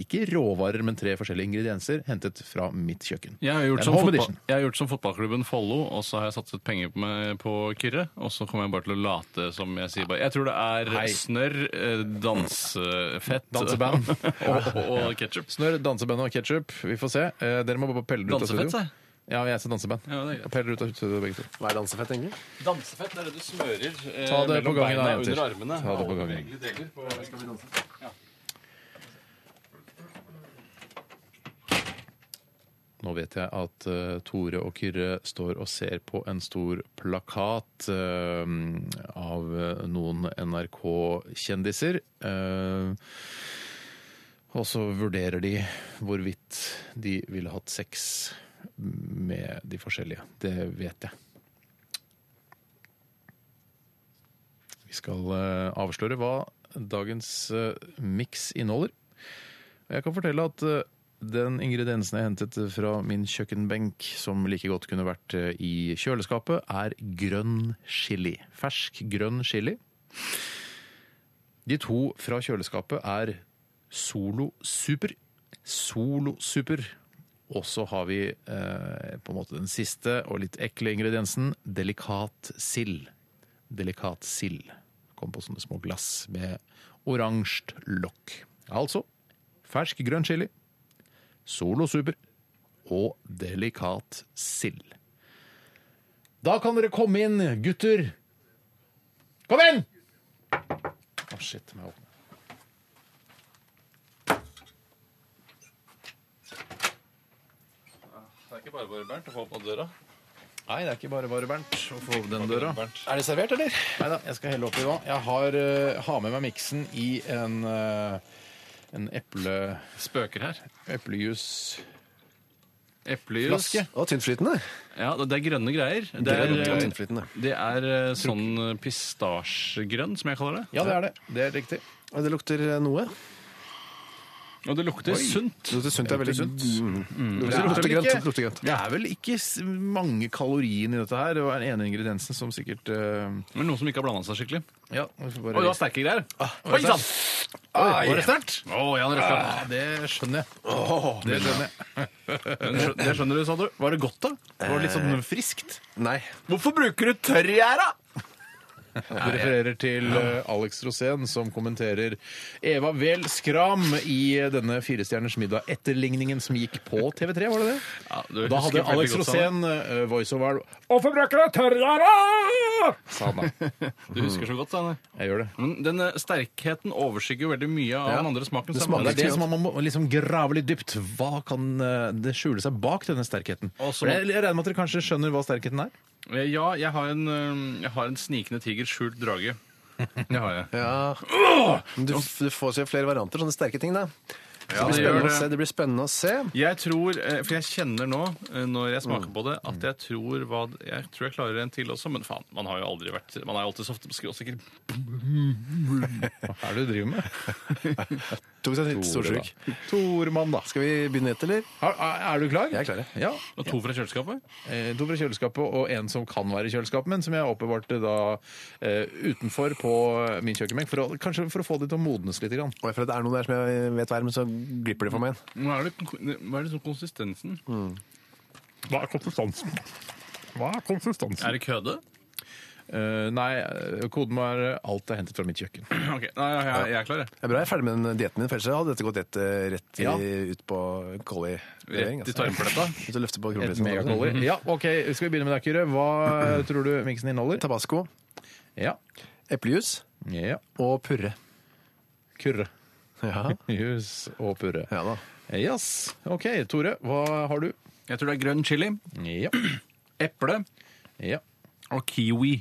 ikke råvarer, men tre forskjellige ingredienser hentet fra mitt kjøkken.
Jeg har,
Det
gjort
er en
som
home
fotball,
edition.
jeg har gjort som fotballklubben Follo, og så har jeg satset penger på, meg, på Kyrre. Og så kommer jeg bare til å late som jeg sier bare Jeg tror det er
Hei.
snørr, eh, dansefett
Danseband.
og, og ketsjup.
Snørr, danseband og ketsjup. Vi får se. Eh, Dere må bare pelle det ut av studio.
Dansefett, sa jeg.
Ja, jeg sa danseband. Og peller ut av studio, begge to.
Hva er dansefett, egentlig?
Dansefett er det du smører eh,
Ta det på
mellom
gangen, da,
beina
jenter.
under armene.
Ta det på
Alle
gangen.
bevegelige deler på-
Nå vet jeg at eh, Tore og Kyrre står og ser på en stor plakat eh, av eh, noen NRK-kjendiser. Eh, og så vurderer de hvorvidt de ville hatt sex med de forskjellige. Det vet jeg. Vi skal eh, avsløre hva dagens uh, miks inneholder. Jeg kan fortelle at eh, den ingrediensen jeg hentet fra min kjøkkenbenk, som like godt kunne vært eh, i kjøleskapet, er grønn chili. Fersk grønn chili. De to fra kjøleskapet er Solo Super. Solo Super. Og så har vi eh, på en måte den siste og litt ekle ingrediensen, delikat sild. Delikat sild. Kom på sånne små glass med oransje lokk. Altså fersk grønn chili, Solo Super og delikat sild. Da kan dere komme inn, gutter. Kom inn! Å, shit, må jeg åpne.
Det er ikke bare bare Bernt å få opp av døra.
Nei, det er ikke bare bare Bernt å få opp den døra.
Bernt.
Er det servert, eller? Nei da, jeg skal helle oppi nå. Jeg har, eh, har med meg miksen i en, eh, en eple...
Spøker her.
Eplejus...
Eplejus.
Flaske.
Og tyntflytende.
Ja, det er grønne greier. Det er,
Grønn og
eh,
tynnflytende.
det er eh, sånn pistasjegrønn, som jeg kaller det.
Ja, det er det. Det er riktig.
Og det lukter eh, noe.
Og det lukter
Oi.
sunt.
Det lukter sunt, det er veldig sunt. Mm.
Mm.
Det lukter
vel
grønt,
ikke-
det lukter grønt.
Det er vel ikke s- mange kaloriene i dette her. Det var den ene ingrediensen som sikkert eh,
Men noen som ikke har blanda seg skikkelig.
Ja, vi får bare... Ah,
Oi, det var sterke greier.
var
Oi
det
sann!
Oi, var det sterkt?
Å, ja, det er sterkt.
Ah, det skjønner jeg. det skjønner jeg.
Det skjønner du, sa du.
Var det godt, da? Det var litt sånn friskt?
Nei.
Hvorfor bruker du tørrgjær, da?
Du refererer til eh, Alex Rosén, som kommenterer Eva Vel Skram i eh, denne Firestjerners middag-etterligningen som gikk på TV3, var det det?
du husker
da hadde
veldig
Alex
godt,
Rosén eh, voiceover Hvorfor bruker du tørrgjæra?! sa han da.
Du husker så godt, Steinar.
Jeg gjør det.
Men denne sterkheten overskygger jo veldig mye av den andre smaken.
Det,
så
smaker, det er det
vanskelig.
som om man må liksom grave litt dypt. Hva kan eh, det skjule seg bak denne sterkheten?
Og så-
For Jeg, jeg regner med at dere kanskje skjønner hva sterkheten er?
Eh, Ja, jeg har en, eh, jeg har en snikende tiger skjult drage. Det har jeg.
Ja. Men Du, f- du får se flere varianter, sånne sterke ting, da.
Ja,
Så det, blir
det gjør
spennende
det.
Å se. det blir spennende å se.
Jeg tror, eh, for jeg kjenner nå, eh, når jeg smaker på det, at jeg tror hva, jeg tror jeg klarer en til også, men faen, man har jo aldri vært, man er jo alltid så ofte på skråsikker.
Hva er det du driver med?
Tok seg en storsjuk.
Tormann, da.
Skal vi begynne et, eller?
Er, er du klar?
Jeg er klar,
ja.
Og to fra kjøleskapet?
Eh, To fra kjøleskapet og en som kan være i kjøleskapet, men som jeg oppbevarte da eh, utenfor på min kjøkkenbenk, for å, kanskje for å få det til å modnes litt. Grann.
For det er noe der som jeg vet hva er, men så glipper det for meg igjen.
Hva er det, hva er det sånn konsistensen?
Hva er konsistensen? Hva er konsistensen?
Er det køde?
nei, eh, koden var eh, 'alt er hentet fra mitt kjøkken'.
Ok, nei, jeg, jeg er klar, jeg.
Det er bra jeg er ferdig med den dietten min, for ellers hadde dette gått rett, eh, rett i,
Ja.
ut på altså. kolli.
Rett i tarmfletta.
Ut og løfte på
Et
kronprinsen.
megakolli. Ja, ok, Skal vi begynne med deg, Kyrre? Hva tror du miksen inneholder?
Tabasco,
Ja.
eplejus
ja.
og purre.
Kurre.
Ja.
Jus og purre.
Ja da.
Yes. OK, Tore, hva har du?
Jeg tror det er grønn chili,
Ja.
eple
ja.
og kiwi.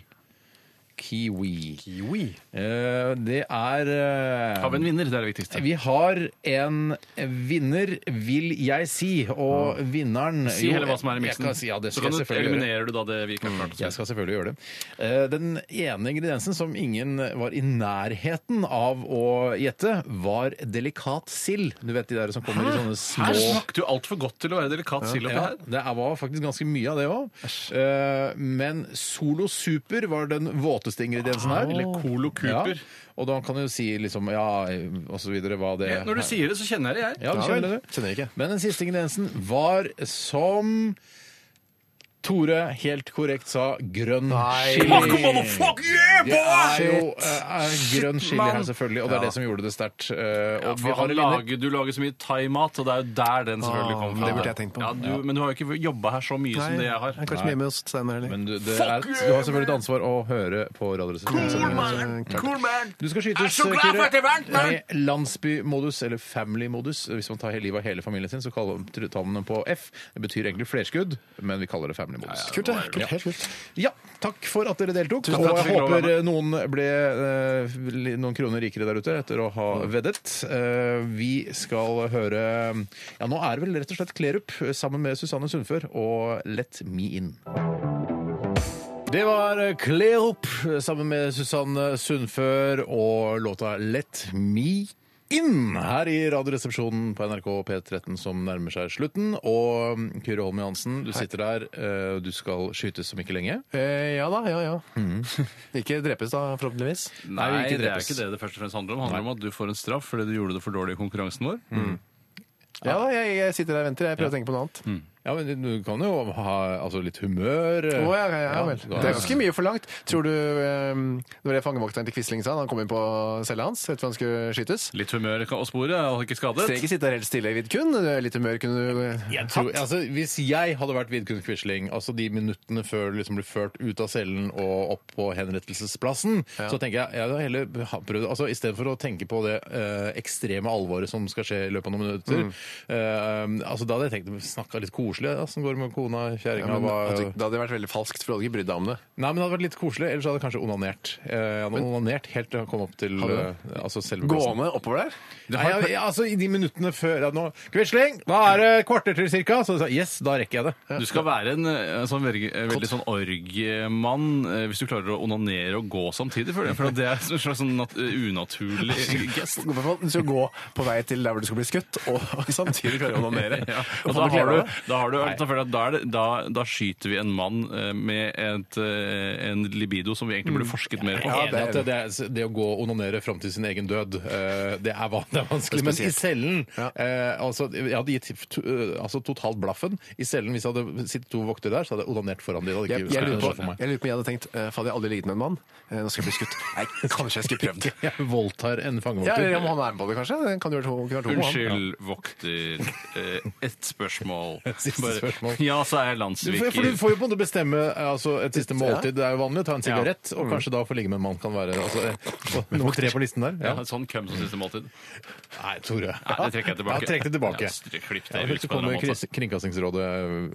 Kiwi. Eh, det er eh,
Har vi en vinner, det er det viktigste.
Vi har en vinner, vil jeg si. Og vinneren
Si
Jo,
heller hva som er i
jeg
miksen.
kan si- Ja, det
Så
skal
kan
jeg
du
selvfølgelig gjøre.
eliminerer du da det vi ikke har klart å
Jeg skal selvfølgelig gjøre det. Eh, Den ene ingrediensen som ingen var i nærheten av å gjette, var delikat sild. Du vet de der som kommer i sånne små
Her smakte jo altfor godt til å være delikat sild oppi
ja,
her.
det er- var faktisk ganske mye av det òg. Men Solo Eh, Super var den våte flotteste ingrediensen her.
Eller Colo Cooper.
Ja. Og da kan du jo si liksom ja, og så videre hva det
Ja, Når du sier det, så kjenner jeg det, jeg.
Ja, du kjenner det. Men den siste ingrediensen var som Tore helt korrekt sa grønn
Fuck,
chili.
motherfucker, yeah,
Det er
boy!
jo eh, grønn chili her, selvfølgelig, og det er det som gjorde det sterkt. eh,
Ja,
og vi
for
har
han
en vinner.
lager, du lager så mye thaimat, og det er jo der den selvfølgelig
Ah,
kommer fra.
det burde jeg tenkt på.
Ja, du, men du har jo ikke jobba her så mye som det jeg har.
er kanskje hjemme hos Steinar heller.
Men du, det er, du har selvfølgelig et ansvar å høre på Radioresepsjonen.
Cool
man,
cool
man. Du skal
Jeg er
skytes,
så glad for at jeg vant, man.
med landsbymodus, eller family-modus. Hvis man tar hele livet av hele familien sin, så kaller, tar man den på F. Det betyr egentlig flerskudd, men vi kaller det family-modus.
Kult, det. Kult, helt kult.
Ja, takk for at dere deltok.
Tusen takk
og
for at vi
jeg
fikk lov å
håper
være
noen ble eh, li- noen kroner rikere der ute etter å ha veddet. Eh, vi skal høre Ja, nå er det vel rett og slett Klerup eh, sammen med Susanne Sundfør og Let Me In. Det var Klerup eh, sammen med Susanne Sundfør og låta Let Me In her i Radioresepsjonen på NRK P13 som nærmer seg slutten. Og mm, Kyrre Holm Johansen, du sitter der. eh, Du skal skytes om ikke lenge.
Eh, ja da, ja ja. Ikke drepes da, forhåpentligvis.
Nei, det er ikke det det først og fremst handler om. Det handler om at du får en straff fordi du gjorde det for dårlig i konkurransen vår.
Ja da, jeg, jeg sitter der og venter. Jeg prøver å tenke på noe annet.
Ja, men du kan jo ha altså, litt humør.
Å, ja, ja, ja, vel.
da-
Det er ganske mye forlangt. Tror du eh, Det var det fangevokteren til Quisling sa da han kom inn på cella hans etter at han skulle skytes?
Litt humør og spore, og ikke skadet.
Trenger ikke sitte der helt stille, Vidkun. Litt humør kunne du
Jeg tror, altså, hvis jeg hadde vært Vidkun Quisling, altså de minuttene før du liksom blir ført ut av cellen og opp på henrettelsesplassen,
Ja.
så tenker jeg jeg hadde heller ha- prøvd altså, Istedenfor å tenke på det eh, ekstreme alvoret som skal skje i løpet av noen minutter,
Mm.
eh, altså, da hadde jeg tenkt snakka litt koselig. Åssen går det med kona,
Ja,
kjerringa?
men,
hva-
at du- da hadde det vært veldig falskt, for du hadde ikke brydd deg om det.
Nei, men det hadde vært litt koselig. Ellers hadde jeg kanskje onanert. Eh, Jeg hadde onanert helt til jeg kom opp til
Hadde du?
eh, altså selve plassen.
Gående oppover der?
Nei, jeg, jeg, altså I de minuttene før ja, nå, Quisling, da er det kvarter til cirka. Så sa jeg, yes, da rekker jeg det.
Du skal være en, eh, sånn veldig, veldig sånn orgmann eh, hvis du klarer å onanere og gå samtidig, føler jeg. For det er en slags sånn nat unaturlig gest.
I hvert fall, Du skal gå på vei til der hvor du skal bli skutt, og samtidig klare å onanere.
Ja,
Og
og
få
da, har
glede av
du,
det.
da, har du, da, føler jeg at da, er det, da, da skyter vi en mann eh, med et, eh, en libido som vi egentlig burde forsket mer på.
Mm. Ja, det, at det, er- det å gå og onanere fram til sin egen død, eh, det, er, van- det er vanskelig. Men i cellen eh, altså, Jeg hadde gitt to, eh, altså, totalt blaffen. I cellen, Hvis jeg hadde sittet to vokter der, så hadde jeg onanert foran dem.
Jeg, jeg, lurer på, jeg lurer på om jeg hadde tenkt eh, Fader, jeg har aldri ligget med en mann. Eh, Nå skal jeg bli skutt. Nei, kanskje jeg skulle prøvd.
Jeg voldtar en
Ja,
fangevokter.
eller om han er med på det, kanskje. Det Kan jo være to, kunne være to han.
Unnskyld, vokter. Eh, Ett spørsmål.
siste
Bare-
spørsmål.
Ja, så er jeg
Du, får- for
landssviker.
du får jo på en måte bestemme eh, altså, et siste måltid. Det er jo vanlig å ta en
Ja.
sigarett, og
Mm.
kanskje da få ligge med en mann kan være altså, eh, nummer tre på listen der.
Ja. sånn køm som siste måltid.
Nei, Tore.
Nei, det trekker jeg tilbake.
Ja, trekk det tilbake.
Ja, stryk- klipp det
Ja,
ut
ellers så
på en
kommer
eller annen
kris- Kringkastingsrådet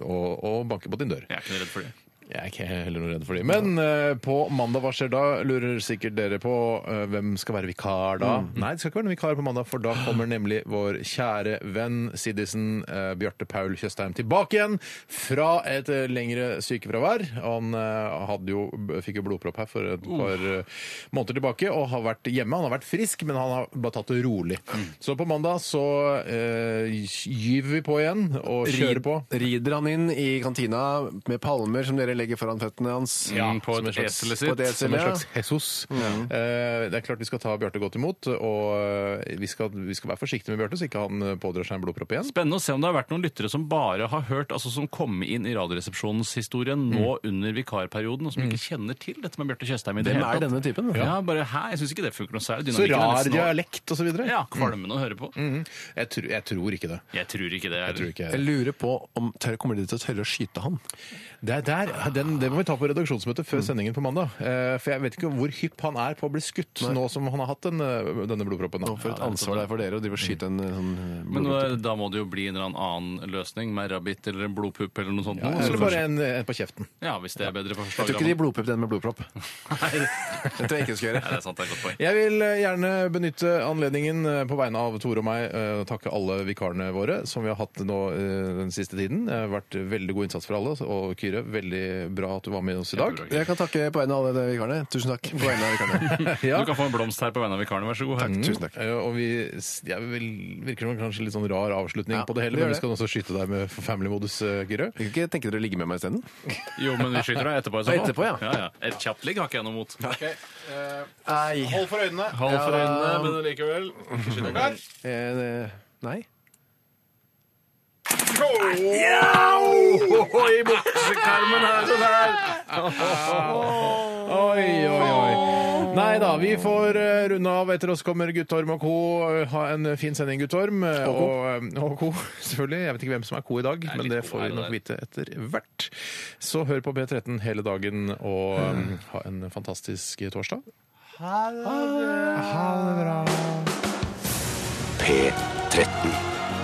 og, og banker på din dør.
Jeg er ikke noe redd for det.
Jeg er ikke heller noe redd for dem. Men eh, på mandag, hva skjer da? Lurer sikkert dere på eh, hvem skal være vikar da? Nei, det skal ikke være noen vikar på mandag, for da kommer nemlig vår kjære venn Siddisen eh, Bjarte Paul Tjøstheim tilbake igjen fra et eh, lengre sykefravær. Han eh, hadde jo, fikk jo blodpropp her for et par eh, måneder tilbake og har vært hjemme. Han har vært frisk, men han har bare tatt det rolig. Så på mandag så eh, gyver vi på igjen og kjører på.
Rider han inn i kantina med palmer som dere legger foran føttene hans?
Ja,
Mm,
som en slags-
På et esel,
Som en
ja. Mm.
slags Jesus. Eh, det er klart vi skal ta Bjarte godt imot, og eh, vi skal, vi skal være forsiktige med Bjarte, så ikke han eh, pådrar seg en blodpropp igjen.
Spennende å se om det har vært noen lyttere som bare har hørt, altså som kom inn i Radioresepsjonshistorien nå under vikarperioden, og som ikke kjenner til dette med Bjarte Tjøstheim. i det
Mm. Hvem
hele
er
tatt.
denne typen?
Ja, bare hæ? Jeg syns ikke det funker noe særlig.
Så
Dynamikken er
rar
nesten over.
dialekt og så videre.
Mm.
Mm.
Ja, kvalmende å høre på.
Jeg, tror- jeg tror ikke det.
Jeg tror ikke det. Er.
Jeg lurer på om tør, kommer de til å tørre å skyte han? Mm.
Det er der, den, det må vi ta på redaksjonsmøtet før sendingen på mandag. Eh, for jeg vet ikke hvor hypp han er på å bli skutt nå som han har hatt den, eh, denne blodproppen.
Og for et ansvar det er for dere å drive og skyte en eh, sånn eh,
Men
blodpropp.
eh, da må det jo bli en eller annen annen løsning, med rabbit eller en blodpupp eller noe sånt.
Ja,
noe,
eller
så
bare
kanskje-
en, en på kjeften.
Ja, hvis det er bedre for
Jeg tror ikke de blodpupp den med blodpropp.
Det
tror jeg ikke du skal gjøre.
Nei, det er sant, det er et godt poeng.
Jeg vil eh, gjerne benytte anledningen eh, på vegne av Tore og meg eh, å takke alle vikarene våre som vi har hatt nå eh, den siste tiden. Det har vært veldig god innsats for alle, altså, og Kyrre veldig bra at du var med oss i dag.
Jeg kan takke på vegne av alle de vikarene. Tusen takk. På vegne av vikarene.
Du kan få en blomst her på vegne av vikarene, vær så god.
Mm. Eh, Og vi jeg vil, virker som en kanskje litt sånn rar avslutning på det hele,
vi gjør
men vi
det.
skal også skyte deg med family-modus, eh, Gyrø.
Kan ikke tenke dere å ligge med meg isteden?
Jo, men vi skyter deg etterpå. i så fall.
Etterpå, ja.
Ja, Et kjapt ligg har ikke jeg noe mot.
Hold for øynene.
Hold for
Ja.
øynene, men likevel ikke skyt deg.
Eh, Nei.
I buksekarmen her sånn her.
Oi, oi, oi. Nei da, vi får eh, runde av. Etter oss kommer Guttorm og co. Eh, Ha en fin sending, Guttorm. eh,
Og co.
Og, eh, og co. Selvfølgelig. Jeg vet ikke hvem som er co i dag, men det får vi nok vite etter hvert. Så hør på B13 hele dagen, og eh, ha en fantastisk torsdag.
Ha det bra.
P13.